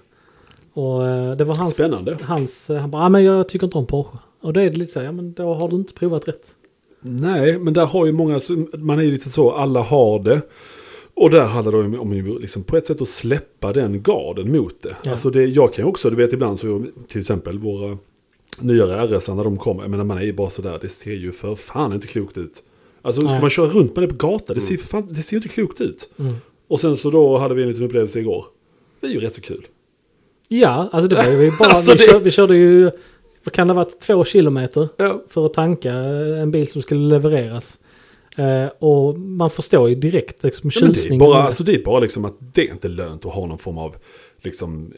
Och eh, det var hans,
Spännande.
hans eh, han bara, ah, men jag tycker inte om Porsche. Och då är det lite så här, ja men då har du inte provat rätt.
Nej, men där har ju många, man är ju lite så, alla har det. Och där handlar det om, om ju liksom på ett sätt att släppa den garden mot det.
Ja.
Alltså det, jag kan ju också, du vet ibland så, till exempel våra nyare RS när de kommer, jag menar man är ju bara sådär, det ser ju för fan inte klokt ut. Alltså ska
Nej. Mm.
man köra runt med det på gatan, det ser ju för fan, det ser ju inte klokt ut. Och sen så då hade vi en liten upplevelse igår. Det är ju rätt så kul.
Ja, alltså det var ju vi bara,
Alltså,
vi,
det-
kör, vi körde ju, vad kan det ha varit, två kilometer.
Ja.
för att tanka en bil som skulle levereras. Eh, och man förstår ju direkt liksom
Ja, men det, är
tjusningen.
bara, alltså det är bara liksom att det är inte lönt att ha någon form av liksom,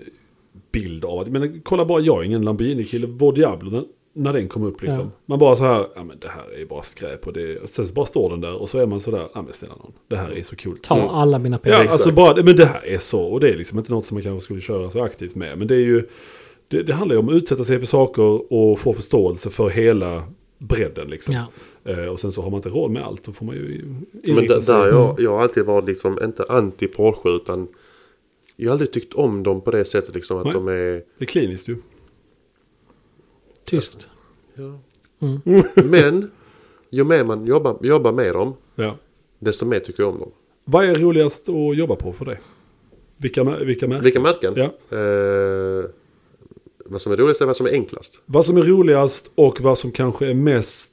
bild av att, men kolla bara, jag är ingen Lamborghini-kille, vår Diablo, den, när den kom upp liksom.
Ja.
Man bara så här, ja men det här är ju bara skräp och det, och sen så bara står den där och så är man så där, ja men snälla någon, det här är så kul.
Ta
Så,
alla mina
ja,
pengar.
alltså bara, men det här är så, och det är liksom inte något som man kanske skulle köra så aktivt med, men det är ju, det, det handlar ju om att utsätta sig för saker och få förståelse för hela bredden liksom.
Ja.
Eh, och sen så har man inte råd med allt, då får man ju
Men
inrikta
där,
sig-
där jag, jag har alltid varit liksom inte anti Porsche utan jag har aldrig tyckt om dem på det sättet liksom att
Nej.
de är...
Det är kliniskt ju.
Tyst.
Ja.
Mm.
Men ju mer man jobbar, jobbar med dem
Ja.
desto mer tycker jag om dem.
Vad är roligast att jobba på för dig? Vilka, mä- vilka märken?
Vilka märken?
Ja.
Eh, vad som är roligast är vad som är enklast.
Vad som är roligast och vad som kanske är mest,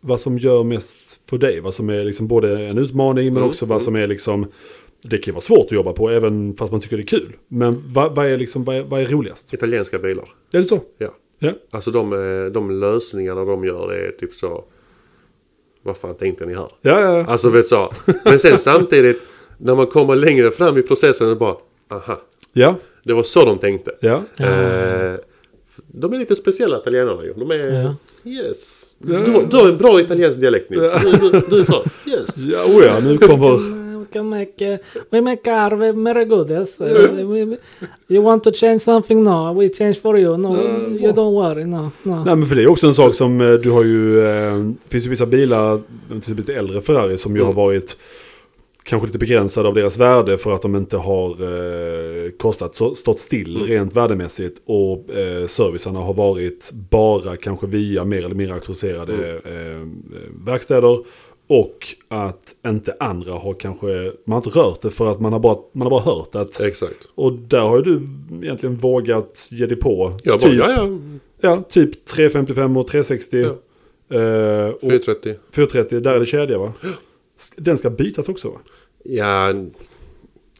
vad som gör mest för dig. Vad som är liksom både en utmaning men
Mm,
också vad som är liksom, det kan ju vara svårt att jobba på även fast man tycker det är kul. Men vad, vad, är, liksom, vad, är, vad är roligast?
Italienska bilar.
Är det så?
Ja.
Ja.
Alltså de, eh, de lösningarna de gör det är typ så... Vad fan tänkte ni här?
Ja, ja, ja.
Alltså vet du så. Men sen samtidigt när man kommer längre fram i processen och bara aha.
ja.
Det var så de tänkte.
ja.
Eh, de är lite speciella italienarna ju. De är...
Ja.
Yes. Du, har- du har en bra italiensk dialekt Nils. Du, du, du är bra. Yes.
Ja, oh ja, nu kommer...
We make our we make goodies. You want to change something? No, we change for you. No, you don't worry. No, no.
Nej men för det är också en sak som eh, du har ju, eh, det finns ju vissa bilar, typ lite äldre Ferrari som ju
Mm.
har varit kanske lite begränsade av deras värde för att de inte har eh, kostat, så, stått still
Mm.
rent värdemässigt och eh, servicerna har varit bara kanske via mer eller mindre auktoriserade
Mm.
eh, verkstäder. Och att inte andra har kanske, man har inte rört det för att man har bara, man har bara hört
Eh.
att
Exakt.
och där har ju du egentligen vågat ge dig på. Typ.
Jag bara, ja, ja.
Ja, typ 355 och 360.
Ja.
Eh, och
430.
430, där är det kedja va? S- Den ska bytas också va?
Ja,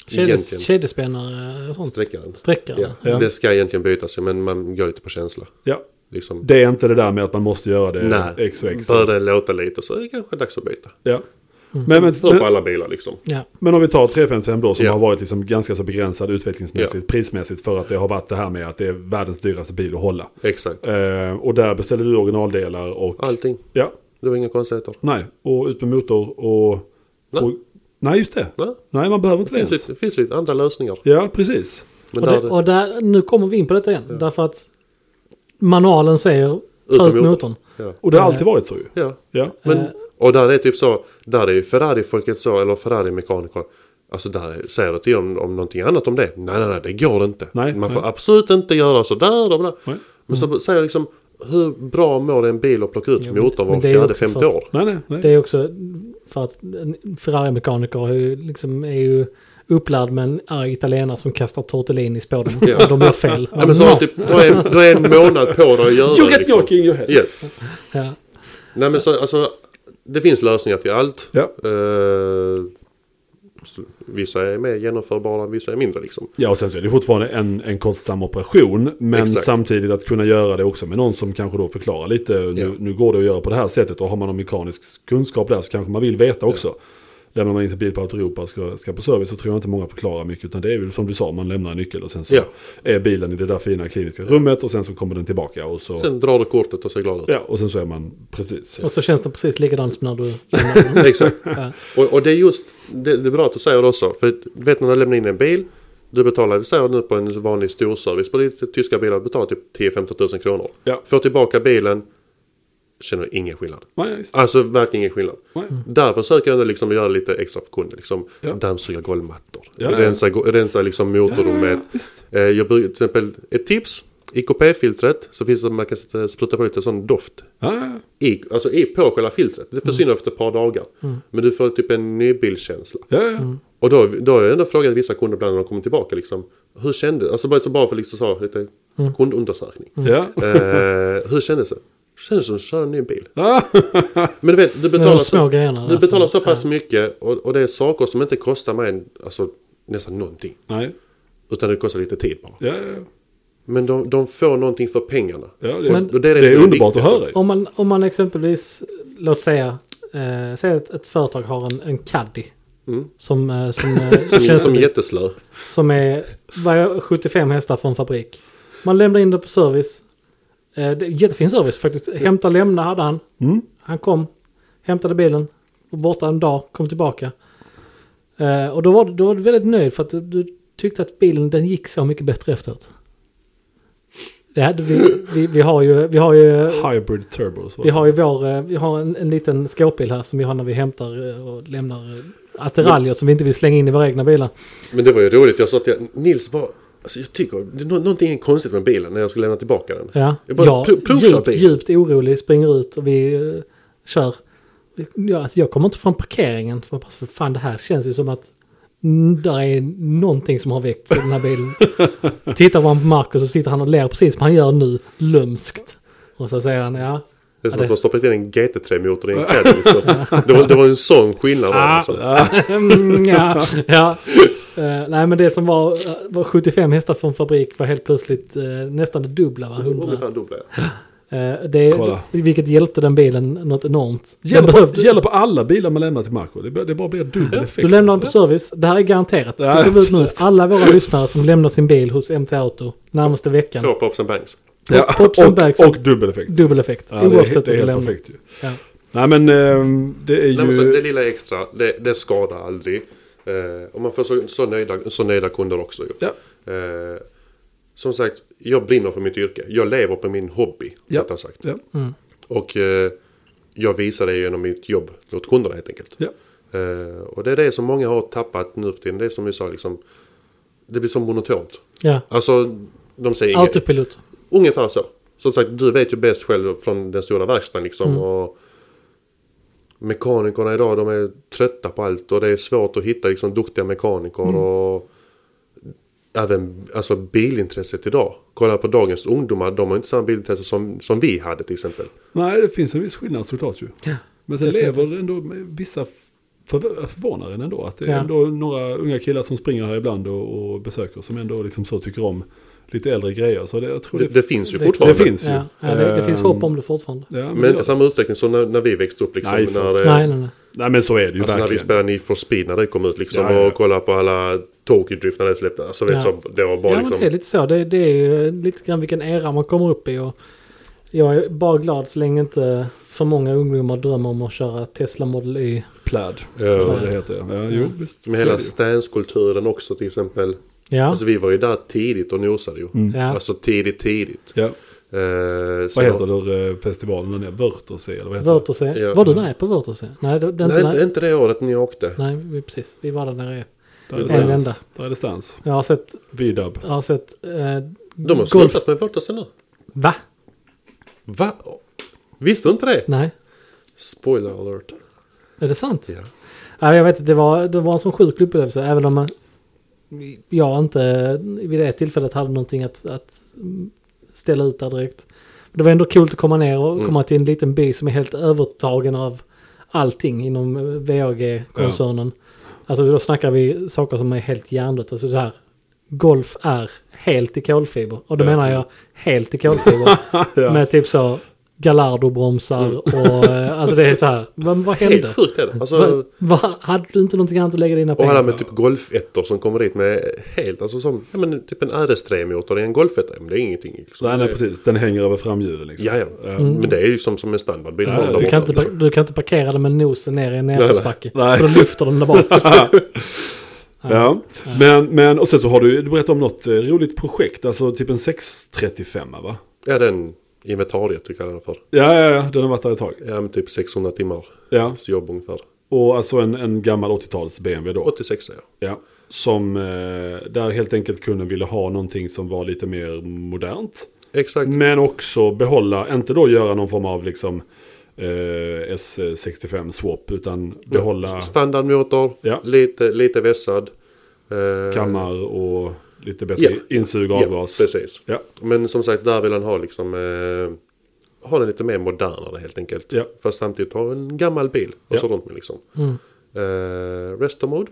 Kedjes,
egentligen.
kedjespännare och sånt.
Sträckaren.
Sträckaren.
Ja.
Ja.
Det ska egentligen bytas ju, men man går lite på känsla.
Ja.
Liksom.
Det är inte det där med att man måste göra det
Nej.
X och X.
Bör den låta lite så är det kanske dags att byta.
Ja. Men, men,
Hör på
men,
alla bilar liksom.
Ja.
men om vi tar 355 då som
Ja.
har varit liksom ganska så begränsad utvecklingsmässigt, prismässigt för att det har varit det här med att det är världens dyraste bil att hålla.
Exakt.
Eh, och där beställde du originaldelar och...
Allting.
Ja,
Det var inga konstigheter.
nej. Och ut med motor och...
Nej.
och nej, just det.
Nej.
Nej, man behöver inte
Det
det
finns,
ens.
lite, finns lite andra lösningar.
Ja, precis.
Men
Och,
där,
det, och där, nu kommer vi in på detta igen. Därför att manualen säger ta
Utom
ut motorn.
ja.
Och det har alltid varit så ju.
ja.
Ja.
Eh.
Men, och där är typ så, där är ju Ferrari-folket så, eller Ferrari-mekaniker. Alltså där är- säger du till dem om någonting annat om det. Nej, nej, nej, det går inte.
Nej,
Man får
nej.
absolut inte göra sådär och där.
Nej.
Men så säger jag liksom, hur bra mår en bil att plocka ut
Jo, men-
motorn var
men det är ju
fjärde,
också
femte
för-
år?
Nej, nej, nej.
Det är också för att en Ferrari-mekaniker är ju, liksom, är ju upplärd med en arg italienare som kastar tortellini på dem.
Ja.
Och de gör fel.
Ja, men så har du typ, du har en, du har en månad på dig att göra det. liksom.
your head.
Yes.
Ja.
Nej men så, alltså, det finns lösningar till allt.
Ja.
Eh, så vissa är mer genomförbara, vissa är mindre liksom.
Ja, och sen så är det fortfarande en, en kostsam operation. Men
Exakt.
samtidigt att kunna göra det också med någon som kanske då förklarar lite. Nu,
Ja.
nu går det att göra på det här sättet och har man någon mekanisk kunskap där så kanske man vill veta också. Lämnar man in sin bil på Autoropa och ska, ska på service så tror jag inte många förklarar mycket. Utan det är väl som du sa, man lämnar en nyckel och sen så
Ja.
är bilen i det där fina kliniska rummet och sen så kommer den tillbaka. Och så,
Sen drar du kortet och ser glad ut.
ja, och sen så är man precis.
Och så känns det precis likadant som när du...
Exakt.
Ja.
Och, och det är just, det, det är bra att du säger det också. För att, vet när du lämnar in en bil. Du betalar, vi säger nu på en vanlig storservice på lite tyska bilar, betalar typ 10-15 000 kronor.
Ja.
Får tillbaka bilen, känner ingen skillnad.
Nej, just,
Alltså verkligen ingen skillnad. Mm.
nej.
Där försöker jag ändå liksom göra lite extra för kunden. Liksom,
Ja.
Dammsuga golvmattor,
Ja, ja.
rensa, go- rensa liksom motorrummet.
visst.
Eh, Jag brukar till exempel, ett tips. I KP-filtret så finns det man kan sätta- spruta på lite sån doft
Ja, ja, ja.
i, alltså i, på själva filtret. Det
Mm.
försvinner efter ett par dagar. Men du får typ en nybilskänsla.
ja, ja.
Mm.
Och då, då har jag ändå frågat vissa kunder ibland när de kommer tillbaka liksom. Hur kändes Alltså bara, så bara för liksom så, här lite
Mm.
kundundersökning.
ja.
Eh, hur kändes det? Kändes som att köra en ny bil.
Ah,
Men du vet, du
Med de
betalar,
små
så,
grejerna.
du
alltså.
betalar så pass mycket och, och det är saker som inte kostar mig en- alltså, nästan någonting.
nej,
Utan det kostar lite tid bara.
ja, ja.
Men de, de får någonting för pengarna.
ja det,
Men-
Och
det
det
är,
är det som är
underbart att
viktigt.
höra. ju.
Om man, om man exempelvis, låt säga, eh, säg att ett företag har en, en caddy.
Mm.
Som, eh, som, eh,
Som,
känns-
som är jätteslö.
som är vad jag- 75 hästar från fabrik. Man lämnar in det på service. Eh, det är jättefin service faktiskt. Hämta, lämna hade han. Han kom, hämtade bilen, var borta en dag, kom tillbaka. Eh, och då var, du- då var du väldigt nöjd för att du, du tyckte att bilen den gick så mycket bättre efteråt. Det hade vi, vi, vi har ju, vi har ju
Hybrid turbos. va?
vi har ju vår, eh, vi har en, en liten skåpbil här som vi har när vi hämtar eh, och lämnar eh, attiraljer som vi inte vill slänga in i våra egna bilar.
Men det var ju roligt. Jag sa till Nils, vad, alltså jag tycker det är nå- någonting är konstigt med bilen när jag ska lämna tillbaka den.
Ja,
Jag bara pro- provkör
djupt,
bilen.
djupt orolig springer ut och vi eh, kör. Ja, alltså jag kommer inte från parkeringen. För jag bara, för fan det här känns ju som att mm, där är någonting som har väckts i den här bilen. Tittar man på Marcus så sitter han och ler precis som han gör nu, lömskt. Och så säger han ja.
Det är
Ja,
som att
det-
de har stoppat in en GT3-motor i en Caddy. Liksom. Det, var, det var en sån skillnad. där, Alltså.
Mm, ja, ja. Eh, nej men det som var, eh, var 75 hästar från fabrik var helt plötsligt eh, nästan det dubbla. Va? 100.
Ungefär dubbla.
Eh, det,
Kolla.
vilket hjälpte den bilen något enormt. Den
Gäller på,
behövde-
gäller på alla bilar man lämnar till Marco. Det, bara- det bara blir dubbel effekt.
Du lämnar den på service. Det här är garanterat.
Ja,
Det ser ut nu. Alla våra lyssnare som lämnar sin bil hos MT Auto närmaste veckan.
Två Pops and Bangs.
Ja,
Pops and bags.
och, och dubbel effekt.
Dubbel effekt.
Ja, det, är,
oavsett
det
vad
är
du lämnar.
helt perfekt ju.
Ja.
Nej men ehm, det
Nej,
är
men så,
ju...
det lilla extra, det, det skadar aldrig. Eh, och man får så, så, nöjda, så nöjda kunder också. Ju.
Ja.
Eh, som sagt, jag brinner för mitt yrke. Jag lever på min hobby.
Ja.
rättare Sagt.
Ja.
Och eh, jag visar det genom mitt jobb mot kunderna helt enkelt.
Ja.
Eh, och det är det som många har tappat nu för tiden. Det är som vi sa, liksom, det blir så monotont.
Ja.
Alltså, de säger inget.
Autopilot.
Ungefär så. Som sagt, du vet ju bäst själv från den stora verkstaden liksom.
Mm.
Och mekanikerna idag, de är trötta på allt och det är svårt att hitta liksom, duktiga mekaniker.
Mm.
Och även alltså, bilintresset idag. Kolla på dagens ungdomar, de har inte samma bilintresse som, som vi hade till exempel.
Nej det finns en viss skillnad såklart ju.
Ja.
Men sen lever det ändå med vissa förv- förvånar en ändå. Att det är
Ja.
ändå några unga killar som springer här ibland och, och besöker. Som ändå liksom så tycker om lite äldre grejer. Så det, jag tror
Det,
det,
det finns ju
det-
fortfarande.
det finns ju.
Ja. Ja, det, det finns
Ehm,
hopp om det fortfarande.
Ja, men,
Men inte
ja.
i samma utsträckning som när, när vi växte upp. Liksom,
Nej, för
när, det-
Nej, nej, nej.
Nej men så är det ju
Alltså när vi
verkligen.
spelade Need for Speed när det kom ut liksom.
Ja, ja, ja.
Och kollade på alla Tokyo Drift när det släpptes. Alltså, vet
Ja.
så, det var bara
Ja, men
liksom...
det är lite så. Det, det är ju eh, lite grann vilken era man kommer upp i. Och jag är bara glad så länge inte för många ungdomar drömmer om att köra Tesla Model Y.
Pläd.
Ja.
Vad det heter. Ja, jo,
Ja.
visst.
Med
Så är
hela
det ju.
stanskulturen också till exempel.
Ja,
Alltså vi var ju där tidigt och nosade ju.
ja.
Alltså tidigt, tidigt.
Ja.
Eh,
Mm. Vad heter det, eh, festivalen där nere? Wörthersee eller vad heter det?
Wörthersee.
Ja.
E. Var du med på Wörthersee? Nej, det, det,
Nej,
inte,
inte, inte det året ni åkte.
nej, vi- precis. Vi var där nere.
Där är det
En
stans.
vända.
Där är det stans.
Jag har sett,
V-dub.
jag har sett eh,
De har
golf.
slutat med Vortasen nu.
Va?
Va? Visste du inte det?
Nej,
Spoiler alert.
är det sant?
Ja.
Ja, jag vet inte, det var, det var en sån sjuk upplevelse. Även om man, jag inte vid det tillfället hade någonting att, att mm, ställa
Mm.
ut där direkt. Men det var ändå coolt att komma ner och komma till en liten by som är helt övertagen av allting inom eh, VAG-koncernen. Alltså då snackar vi saker som är helt hjärndött. Alltså så här, golf är helt i kolfiber. Och då
Ja.
menar jag helt i kolfiber.
Ja.
Med typ så Gallardo-bromsar och eh, alltså det är så här. Vad, vad hände?
Mm. Helt sjukt är det. Alltså,
Vad- vad- hade du inte någonting annat att lägga dina
och
pengar
alla
på?
med typ golfettor som kommer dit med helt, alltså som, ja men typ en RS3-motor i en golfetta. Ja, men det är ingenting. Liksom.
Nej,
Det
nej,
är-
precis. Den hänger över framhjulen liksom.
Ja, ja. Men det är ju som, som en standardbil.
Ja,
från
ja,
där
Du kan,
borta.
inte, par- du kan inte parkera den med nosen ner i en
nej.
nedförsbacke.
Nej.
För då lyfter den där bak.
Ja, men, men och sen så har du, du berättat om något eh, roligt projekt, alltså typ en 635 va?
Ja, den inventariet du kallar den för.
Ja, ja, ja, den har varit där ett tag.
Ja, men typ 600 timmar
Ja,
jobb ungefär.
och alltså en, en gammal 80-tals BMW då.
86 ja.
Ja, som eh, där helt enkelt kunden ville ha någonting som var lite mer modernt.
Exakt.
Men också behålla, inte då göra någon form av liksom eh, S65 swap, utan behålla
Standardmotor,
Ja.
lite, lite vässad. Eh,
kammar och lite bättre
Ja.
insug och
Ja,
avgas.
precis.
Ja,
Men som sagt, där vill han ha liksom... Eh, ha den lite mer modernare helt enkelt.
Ja.
Fast samtidigt ha en gammal bil och
Ja.
så runt med liksom. Eh, resto mode.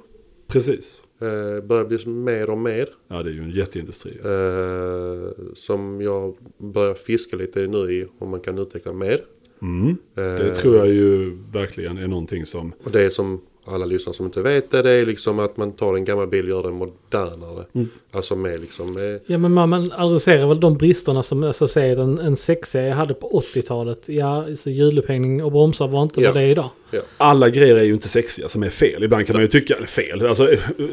precis.
Eh, börjar bli mer och mer.
Ja, det är ju en jätteindustri.
Eh, som jag börjar fiska lite nu i om man kan utveckla mer.
Mm.
Eh,
Det tror jag ju verkligen är någonting som...
Och det är som alla lyssnare som inte vet det, det är liksom att man tar en gammal bil och gör den modernare.
Mm.
Alltså med liksom... Eh,
Ja men man, man adresserar väl de bristerna som alltså, säger en, en 6-serie hade på 80-talet. Ja, så hjulupphängning och bromsar var inte
Ja.
vad det är idag.
ja.
Alla grejer är ju inte sexiga som är fel. Ibland kan man ju tycka, eller fel, alltså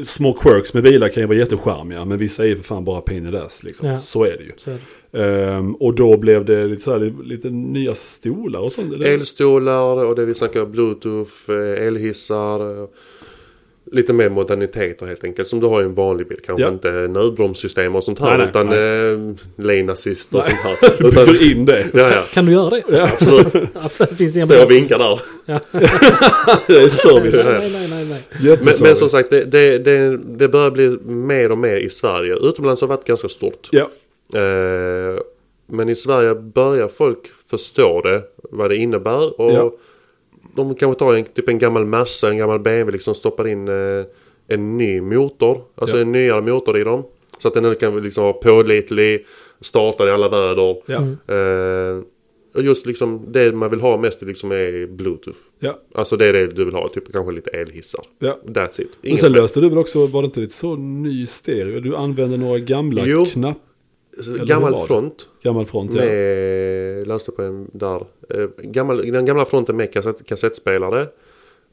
små quirks med bilar kan ju vara jättecharmiga. Men vissa är ju för fan bara pain in the ass liksom.
Ja.
Så är det ju.
Så är det.
Ehm, och då blev det lite, så här, lite nya stolar och sånt. Eller?
Elstolar och det vi snackar om, bluetooth, eh, elhissar. eh, Lite mer moderniteter helt enkelt. Som du har i en vanlig bil. Kanske
Ja.
inte nödbromssystem och sånt här.
Nej, nej,
utan eh, lane assist och sånt här.
Du
Utan,
byter in det.
ja, ja.
Kan du göra det?
Absolut.
Absolut, finns det inga
Står
brister.
och vinkar där.
Det är service.
Nej, nej, nej, nej.
Men, men som
Jätteservice.
sagt, det, det, det, det börjar bli mer och mer i Sverige. Utomlands har det varit ganska stort.
Ja,
Eh, men i Sverige börjar folk förstå det, vad det innebär. Och
Ja.
De kanske tar en, typ en gammal Merca, en gammal BMW, liksom stoppar in eh, en ny motor. Alltså
Ja.
en nyare motor i dem. Så att den kan liksom vara pålitlig, startar i alla väder.
ja,
Eh, och just liksom det man vill ha mest liksom är bluetooth.
ja.
Alltså det är det du vill ha, typ kanske lite elhissar.
ja.
That's it.
Men
Inget
sen löste du väl också, var det inte lite så ny stereo? Du använde några gamla
Jo.
knapp,
mer.
hur var
gammal
det?
front.
gammal front. Ja.
med löste på en där. Eh, Gammal, den gamla fronten med kassett, kassettspelare.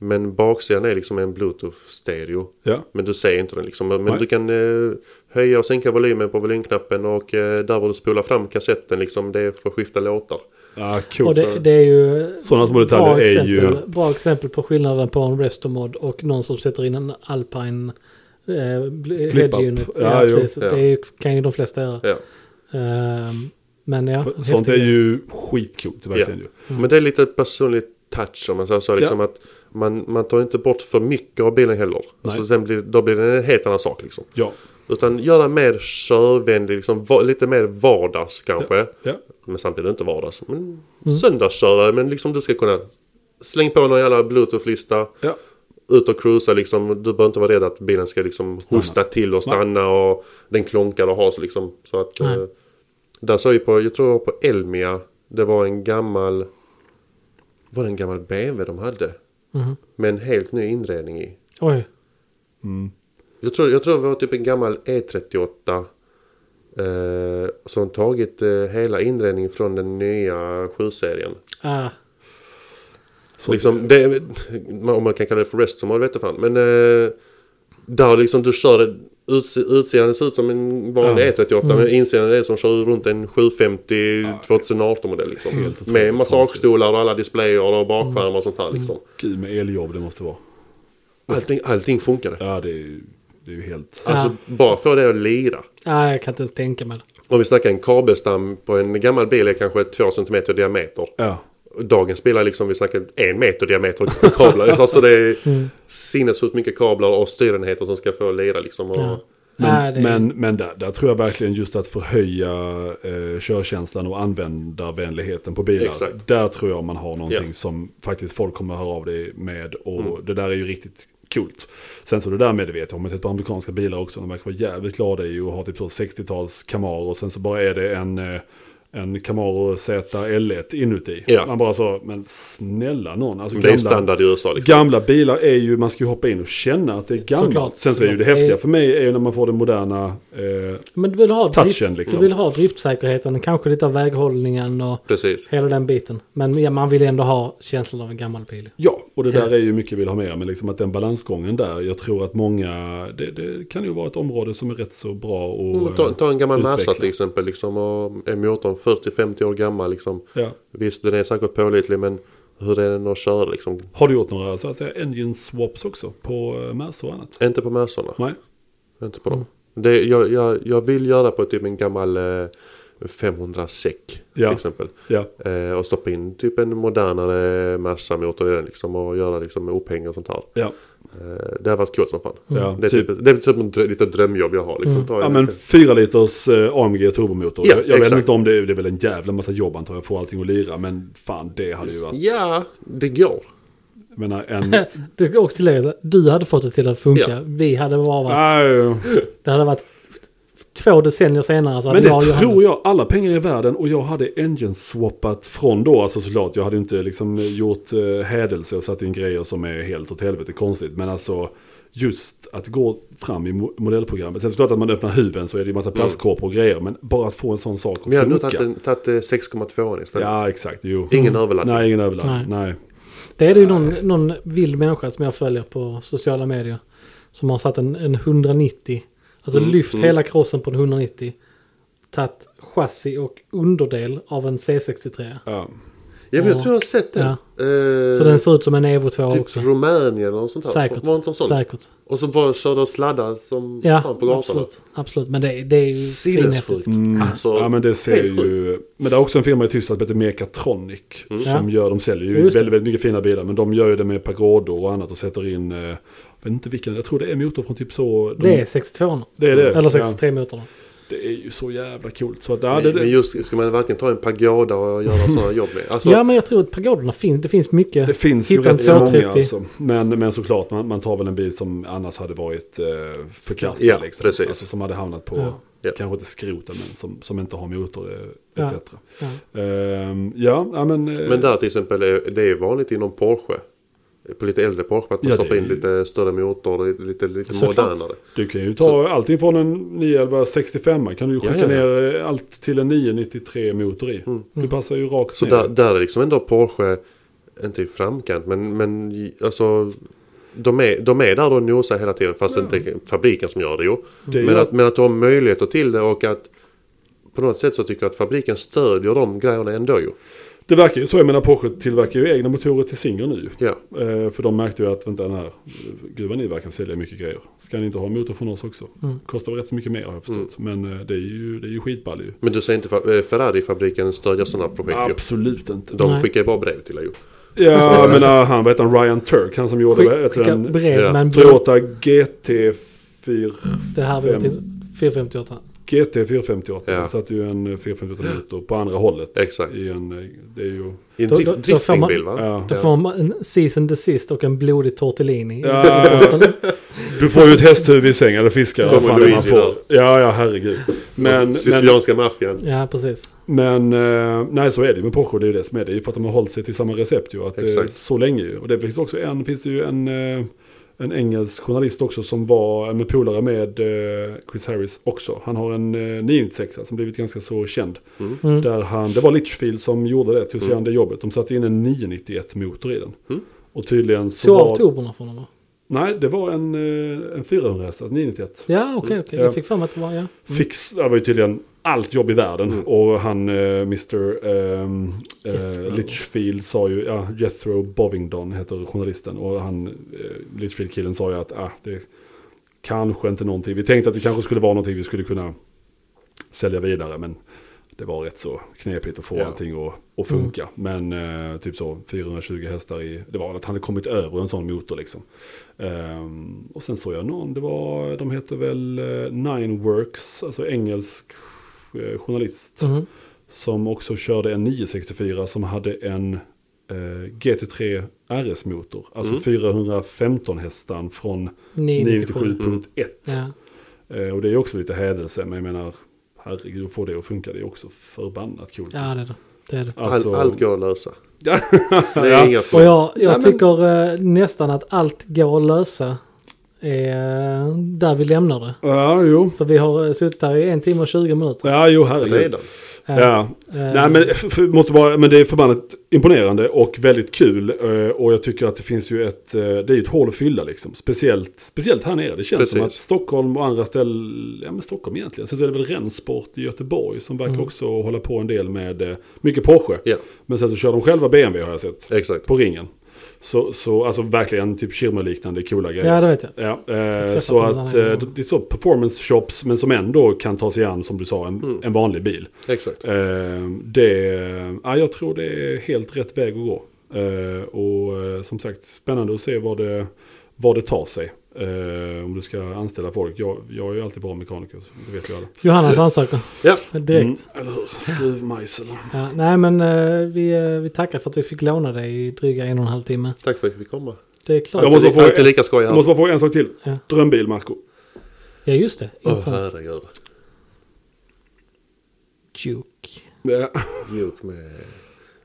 Men baksidan är liksom en bluetooth-stereo.
ja.
Men du ser inte den liksom. Men
Nej.
du kan eh, höja och sänka volymen på volymknappen och eh, där var du spolar fram kassetten liksom. Det är för att skifta låtar.
Ja, coolt.
Och det, det är ju...
Sådana små detaljer
bra
är
exempel,
ju-
Bra exempel på skillnaden på en restomod och någon som sätter in en alpine eh, bl-
Flip-up.
head unit.
Ja, jo.
precis.
Ja.
Det är ju, kan ju de flesta göra.
Ja.
Ehm, men ja.
Sånt
häftig
är
grej.
ju skitcoolt, verkligen ju.
Mm. Men det är lite personlig touch om man säger så. Liksom att man, man tar inte bort för mycket av bilen heller. Alltså, sen blir, då blir det en helt annan sak liksom.
Ja,
Utan göra mer körvänlig, liksom, va, lite mer vardags kanske.
ja.
Men samtidigt inte vardags. Men söndagskörare. Men liksom du ska kunna släng på någon jävla bluetooth-lista.
ja.
Ut och cruisa liksom. Du behöver inte vara rädd att bilen ska liksom hosta till och stanna. Och den klonkar och har så liksom. Så att...
Nej.
Eh, där såg jag på, jag tror det var på Elmia. Det var en gammal... Var det en gammal BMW de hade?
Mhm.
Med en helt ny inredning i.
Oj.
Jag tror, jag tror det var typ en gammal E38. Eh, som tagit eh, hela inredningen från den nya 7-serien.
Ah.
Så
liksom, det, om man kan kalla det för restomod vet jag fan. Men eh, där liksom du kör, uts- utsidan ser ut som en vanlig
Ja. Mm.
E38 men insidan är som kör runt en 750 2018-modell.
Helt
Liksom.
otroligt
Med
konstigt. Mm.
massagstolar och alla displayer och bakskärmar och sånt här liksom.
Gud med eljobb det måste vara.
Allting, allting funkade.
Mm. Ja, det är ju, det är ju helt...
Alltså bara få det att lira.
ah, jag kan inte ens tänka mig det.
Om vi snackar en kabelstam på en gammal bil är kanske 2 cm i diameter.
Ja.
Dagens bilar liksom, vi snackar en meter diameter kablar. alltså det är sinnessjukt mycket kablar och styrenheter som ska få lira liksom. Och
Ja.
Men,
Nej, det är-
men, men där, där tror jag verkligen just att förhöja eh, körkänslan och användarvänligheten på bilar.
Exakt.
Där tror jag man har någonting
Ja. Mm.
som faktiskt folk kommer höra av dig med. Och det där är ju riktigt coolt. Sen så det där med det vet jag, om man tittar på amerikanska bilar också, de verkar vara jävligt glada i att ha typ så 60-tals Camaro och sen så bara är det en, eh, en Camaro ZL1 inuti.
Ja.
Man bara så, men snälla någon. Alltså
Det är standard i USA liksom.
Gamla bilar är ju, man ska ju hoppa in och känna att det är gammalt.
Såklart.
Sen så är ju det
Såklart.
häftiga för mig är ju när man får den moderna. Eh,
Men du vill ha,
Touchen,
drift,
liksom.
du vill ha driftsäkerheten, kanske lite av väghållningen och
Precis.
hela den biten. Men ja, man vill ändå ha känslan av en gammal bil.
ja, och det där är ju mycket vi vill ha med. Men liksom att den balansgången där, jag tror att många, det, det kan ju vara ett område som är rätt så bra och...
Mm, Ta, ta en gammal
Utveckla.
Merca till exempel. Liksom, och en motor 40-50 år gammal. Liksom.
eh, Ja.
Visst, den är säkert pålitlig men hur är den att köra liksom?
Har du gjort några så att säga engine swaps också på eh, Merca och annat?
Inte på Mercorna.
Nej?
Inte på
Mm.
dem. Det, jag, jag, jag vill göra på typ en gammal eh, 500 SEK
Ja.
till exempel.
Ja.
Eh, och stoppa in typ en modernare Merca-motor i den liksom och göra liksom upphäng och sånt här.
Ja.
Eh, det har varit coolt som fan.
Ja,
det, är typ, det är typ ett drö- litet drömjobb jag har liksom. Ta
Ja
en-
men 4 liters eh, AMG turbomotor.
Ja,
jag jag vet
exakt.
inte om det är, det är väl en jävla massa jobb antar jag, få allting att lira. Men fan det hade ju varit,
ja, det går.
jag menar en...
Eh, Du, och tillägga, att du hade fått det till att funka.
Ja.
Vi hade bara varit,
Nej,
det hade varit två decennier senare. Så
Men
hade
det
jag och
tror
Johannes-
jag, alla pengar i världen och jag hade engine swappat från då, alltså såklart, jag hade inte liksom gjort eh, hädelse och satt in grejer som är helt åt helvete konstigt, men alltså just att gå fram i mo- modellprogrammet, sen såklart att man öppnar huven så är det ju massa plastkorpor och grejer, men bara att få en sån sak
Men jag hade
att
nog
funka.
tagit en- tagit eh, 6,2 istället.
Ja, exakt, jo.
Ingen överladdning.
Nej, ingen överladdning. Nej.
Det är det ju någon, någon vild människa som jag följer på sociala medier. Som har satt en, en 190. Alltså
Mm,
lyft hela krossen på en 190. Tagit chassi och underdel av en C63.
Ja.
Ja, men jag
Ja.
tror jag har sett den. Eh,
Så den ser ut som en Evo 2
typ
också.
Rumänien eller något sånt här.
Säkert.
Var det inte en sån?
Säkert.
Och så bara körde och sladdade som
Ja,
fan på gatan.
absolut. absolut. Men det, det är ju
Sinnessjukt.
svinhäftigt.
Mm.
Alltså,
ja, men det ser
helt sjukt. Mm.
ju... Men det är också en firma i Tyskland som heter Mekatronic. Som
Ja.
gör, de säljer ju
Just det.
väldigt, väldigt mycket fina bilar. Men de gör ju det med pagodor och annat och sätter in... eh, Jag vet inte vilken, jag tror det är motor från typ så... De,
Det är 62
det är det.
Eller
Ja,
63-motorn.
det är ju så jävla coolt. Så att, ja, det,
Men- Men
det,
just, ska man verkligen ta en pagoda och göra sådana jobb med? Alltså,
Ja, men jag tror att pagoderna finns. Det finns mycket.
det finns ju
Hitta en
rätt så många
230.
alltså. Men, men såklart, man, man tar väl en bil som annars hade varit eh, förkastad.
Ja,
liksom.
precis.
Alltså, som hade hamnat på,
Ja.
Ja.
kanske inte skroten, men som, som inte har motor eh,
Ja.
etc.
Ja.
Ehm, ja, ja, men... eh,
Men där till exempel, är- det är vanligt inom Porsche. På lite äldre Porsche, att man
Ja, det
stoppar
är
in
ju-
lite större motor, lite, lite
Såklart.
modernare.
Du kan ju ta allting från en 911 65 kan du ju
Ja,
skicka
ja, ja.
ner eh, allt till en 993 motor i. Du
Mm.
passar ju rakt
Så
ner.
där, där är liksom ändå Porsche, inte i framkant, men, men i- alltså... De är, de är där och nosar hela tiden fast det inte är fabriken som gör det jo.
Det är
men,
ju-
att, men att de har möjligheter till det och att på något sätt så tycker jag att fabriken stödjer de grejerna ändå ju.
Det verkar ju så, jag menar Porsche tillverkar ju egna motorer till Singer nu.
Ja.
Eh, för de märkte ju att, vänta den här, gud vad ni verkar sälja mycket grejer. Ska ni inte ha en motor från oss också?
Mm.
Kostar väl rätt så mycket mer har jag förstått.
Mm.
Men eh, det är ju, det är ju skitball ju.
Men du säger inte fa- eh, Ferrari-fabriken stödjer sådana projekt ju.
Absolut inte.
De
Nej.
skickar ju bara brev till dig ju.
Ja, jag menar han, vad heter han, Ryan Turk, han som gjorde, vad
Skick,
heter
skicka
den,
brev
Ja.
med en båt.
Toyota GT4.
Det här var
fem.
till 458.
GT 458
Ja.
satt ju en 458 motor på andra hållet.
Exakt.
I en, eh, det är ju...
I en
Då-
drift-
då- då får man-
driftingbil va?
Ja.
Då får man en cease and desist och en blodig tortellini.
Ja, du får ju ett hästhuvud i sängen eller fiskar.
Kommer
Vad fan är man
Luigi
får. Ja, ja, herregud. Men, men,
Sicilianska maffian.
Ja, precis.
men eh, nej, så är det ju med Porsche. Det är ju det som är det. Det är ju för att de har hållit sig till samma recept ju. Att, eh,
Exakt.
så länge ju. Och det finns också en, finns ju en, eh, en engelsk journalist också som var med polare med eh, Chris Harris också. Han har en eh, 996 som blivit ganska så känd.
Mm.
Där han, det var Litchfield som gjorde det, tog sig an det jobbet. De satte in en 991-motor i den. Och tydligen så
Tog av
var...
turborna från honom.
Nej, det var en, eh, en 400 hästar, 991.
Ja, okej, okej.
Mm. Ja.
Jag fick för mig att det var, ja.
Fix, det var ju tydligen allt jobb i världen. Och han, eh, Mr. ehm, eh,
Jethro.
Litchfield sa ju, ja, Jethro Bovingdon heter journalisten. Och han, eh, Litchfield-killen sa ju att, ah, det kanske inte någonting. Vi tänkte att det kanske skulle vara någonting vi skulle kunna sälja vidare, men det var rätt så knepigt att få
Ja.
allting att, att funka. Men eh, typ så 420 hästar i, det var att han hade kommit över en sån motor liksom. Ehm, och sen såg jag någon, det var, de heter väl eh, Nine Works, alltså engelsk eh, journalist.
Mhm.
Som också körde en 964 som hade en eh, GT3 RS-motor. Alltså 415 hästan från
997.
997.1.
Mm. Ja.
Eh, Och det är också lite hädelse, men jag menar, herregud, att få det att funka, det är också förbannat coolt.
ja, det är det. det, är det.
Alltså-
Allt, allt går att lösa.
Ja.
Det är inga
Och
problem.
jag, jag
Nej, men-
tycker eh, nästan att allt går att lösa är eh, där vi lämnar det.
ja, jo.
För vi har eh, suttit här i en timme och 20 minuter.
Ja, jo, herregud.
Redan.
Eh,
Ja.
eh,
Nej, men, f- f- måste bara, men det är förbannat imponerande och väldigt kul. eh, Och jag tycker att det finns ju ett, eh, det är ju ett hål att fylla liksom. Speciellt, speciellt här nere. Det känns som att
Precis.
Stockholm och andra ställen, ja men Stockholm egentligen. Sen så är det väl Rensport i Göteborg som verkar
Mm.
också hålla på en del med eh, mycket Porsche.
Ja,
Men sen så kör de själva BMW har jag sett.
exakt.
på ringen. Så, så alltså verkligen typ Kiruna-liknande coola grejer.
Ja, det vet jag.
Ja, eh,
träffat
så
dem
att
den här
eh,
gången.
det är så performance shops men som ändå kan ta sig an som du sa en,
Mm.
en vanlig bil.
Exakt.
Eh, det, ja, jag tror det är helt rätt väg att gå. Eh, och eh, som sagt spännande att se vad det, vad det tar sig. Eh, om du ska anställa folk. Jag, jag är ju alltid bra mekaniker, så det vet ju alla.
Johannes ansöker
Ja,
direkt.
Mm, eller hur? Skruvmejsel.
Ja, nej men eh, vi, eh, vi tackar för att vi fick låna dig i dryga en och en halv timme.
tack för att vi fick komma.
Det är klart.
Jag måste
Alltid-
få
alltid
ett-
lika skoj här.
Jag måste bara få en sak till.
Ja.
Drömbil, Marco.
Ja just det.
Åh
Intressant.
herregud.
Juke.
Ja.
Mjuk med,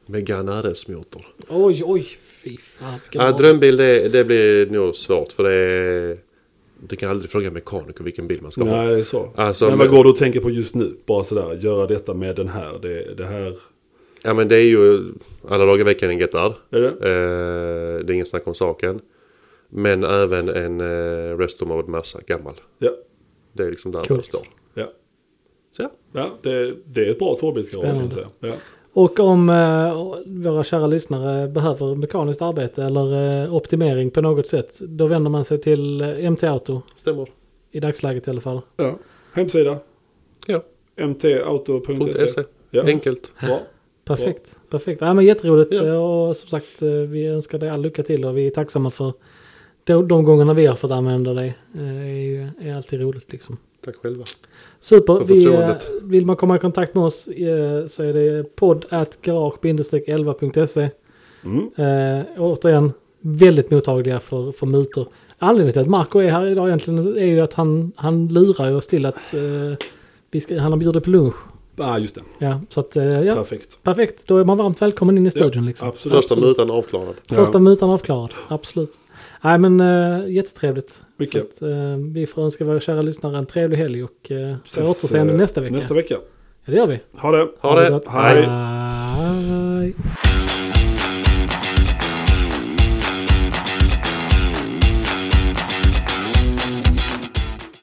med Ganares-motor.
Oj oj fy fan. vilken
Ja,
bra.
drömbil det, det blir nog svårt för det är, Du kan aldrig fråga en mekaniker vilken bil man ska ha.
Nej, det är så.
Alltså,
men vad
men-
går du att tänka på just nu? Bara sådär, göra detta med den här. Det, det här,
Ja men det är ju alla dagar i veckan en GTR.
är det?
Eh, det är ingen snack om saken. Men även en eh, Restomod Massa gammal.
Ja,
Det är liksom där
Coolt.
man står.
ja.
Så ja,
ja det, det är ett bra tvåbilsgarage kan jag säga.
Spännande.
Ja.
Och om eh, våra kära lyssnare behöver mekaniskt arbete eller eh, optimering på något sätt. Då vänder man sig till eh, MT Auto.
stämmer.
I dagsläget i alla fall.
Ja. Hemsida,
Ja, .se.
mtauto.se. E. Ja.
E. Enkelt.
Bra.
Perfekt. Perfekt. Ja, men jätteroligt.
Ja.
Eh, Och som sagt, eh, vi önskar dig all lycka till och vi är tacksamma för de, de gångerna vi har fått använda dig. Eh, Det är, ju- är alltid roligt liksom.
Tack själva.
Super.
För
Vi, eh,
förtroendet.
vill man komma i kontakt med oss eh, så är det podd at garage-11.se.
Mm.
Eh, återigen, väldigt mottagliga för, för mutor. Anledningen till att Marco är här idag egentligen är ju att han, han lurar oss till att eh, vi ska, han har bjudit på lunch.
Ah, just det.
Ja, så att, eh, ja,
Perfekt.
perfekt. Då är man varmt välkommen in i studion. liksom.
Absolut.
Första mutan avklarad.
Första
Ja.
mutan avklarad, absolut. Nej men eh, jättetrevligt. Så
Mycket.
att, eh, vi får önska våra kära lyssnare en trevlig helg och eh, på
Ses,
återseende
eh,
nästa vecka.
Nästa vecka.
Ja, det gör vi.
Ha det.
Ha det!
gott.
Hej.
Hej.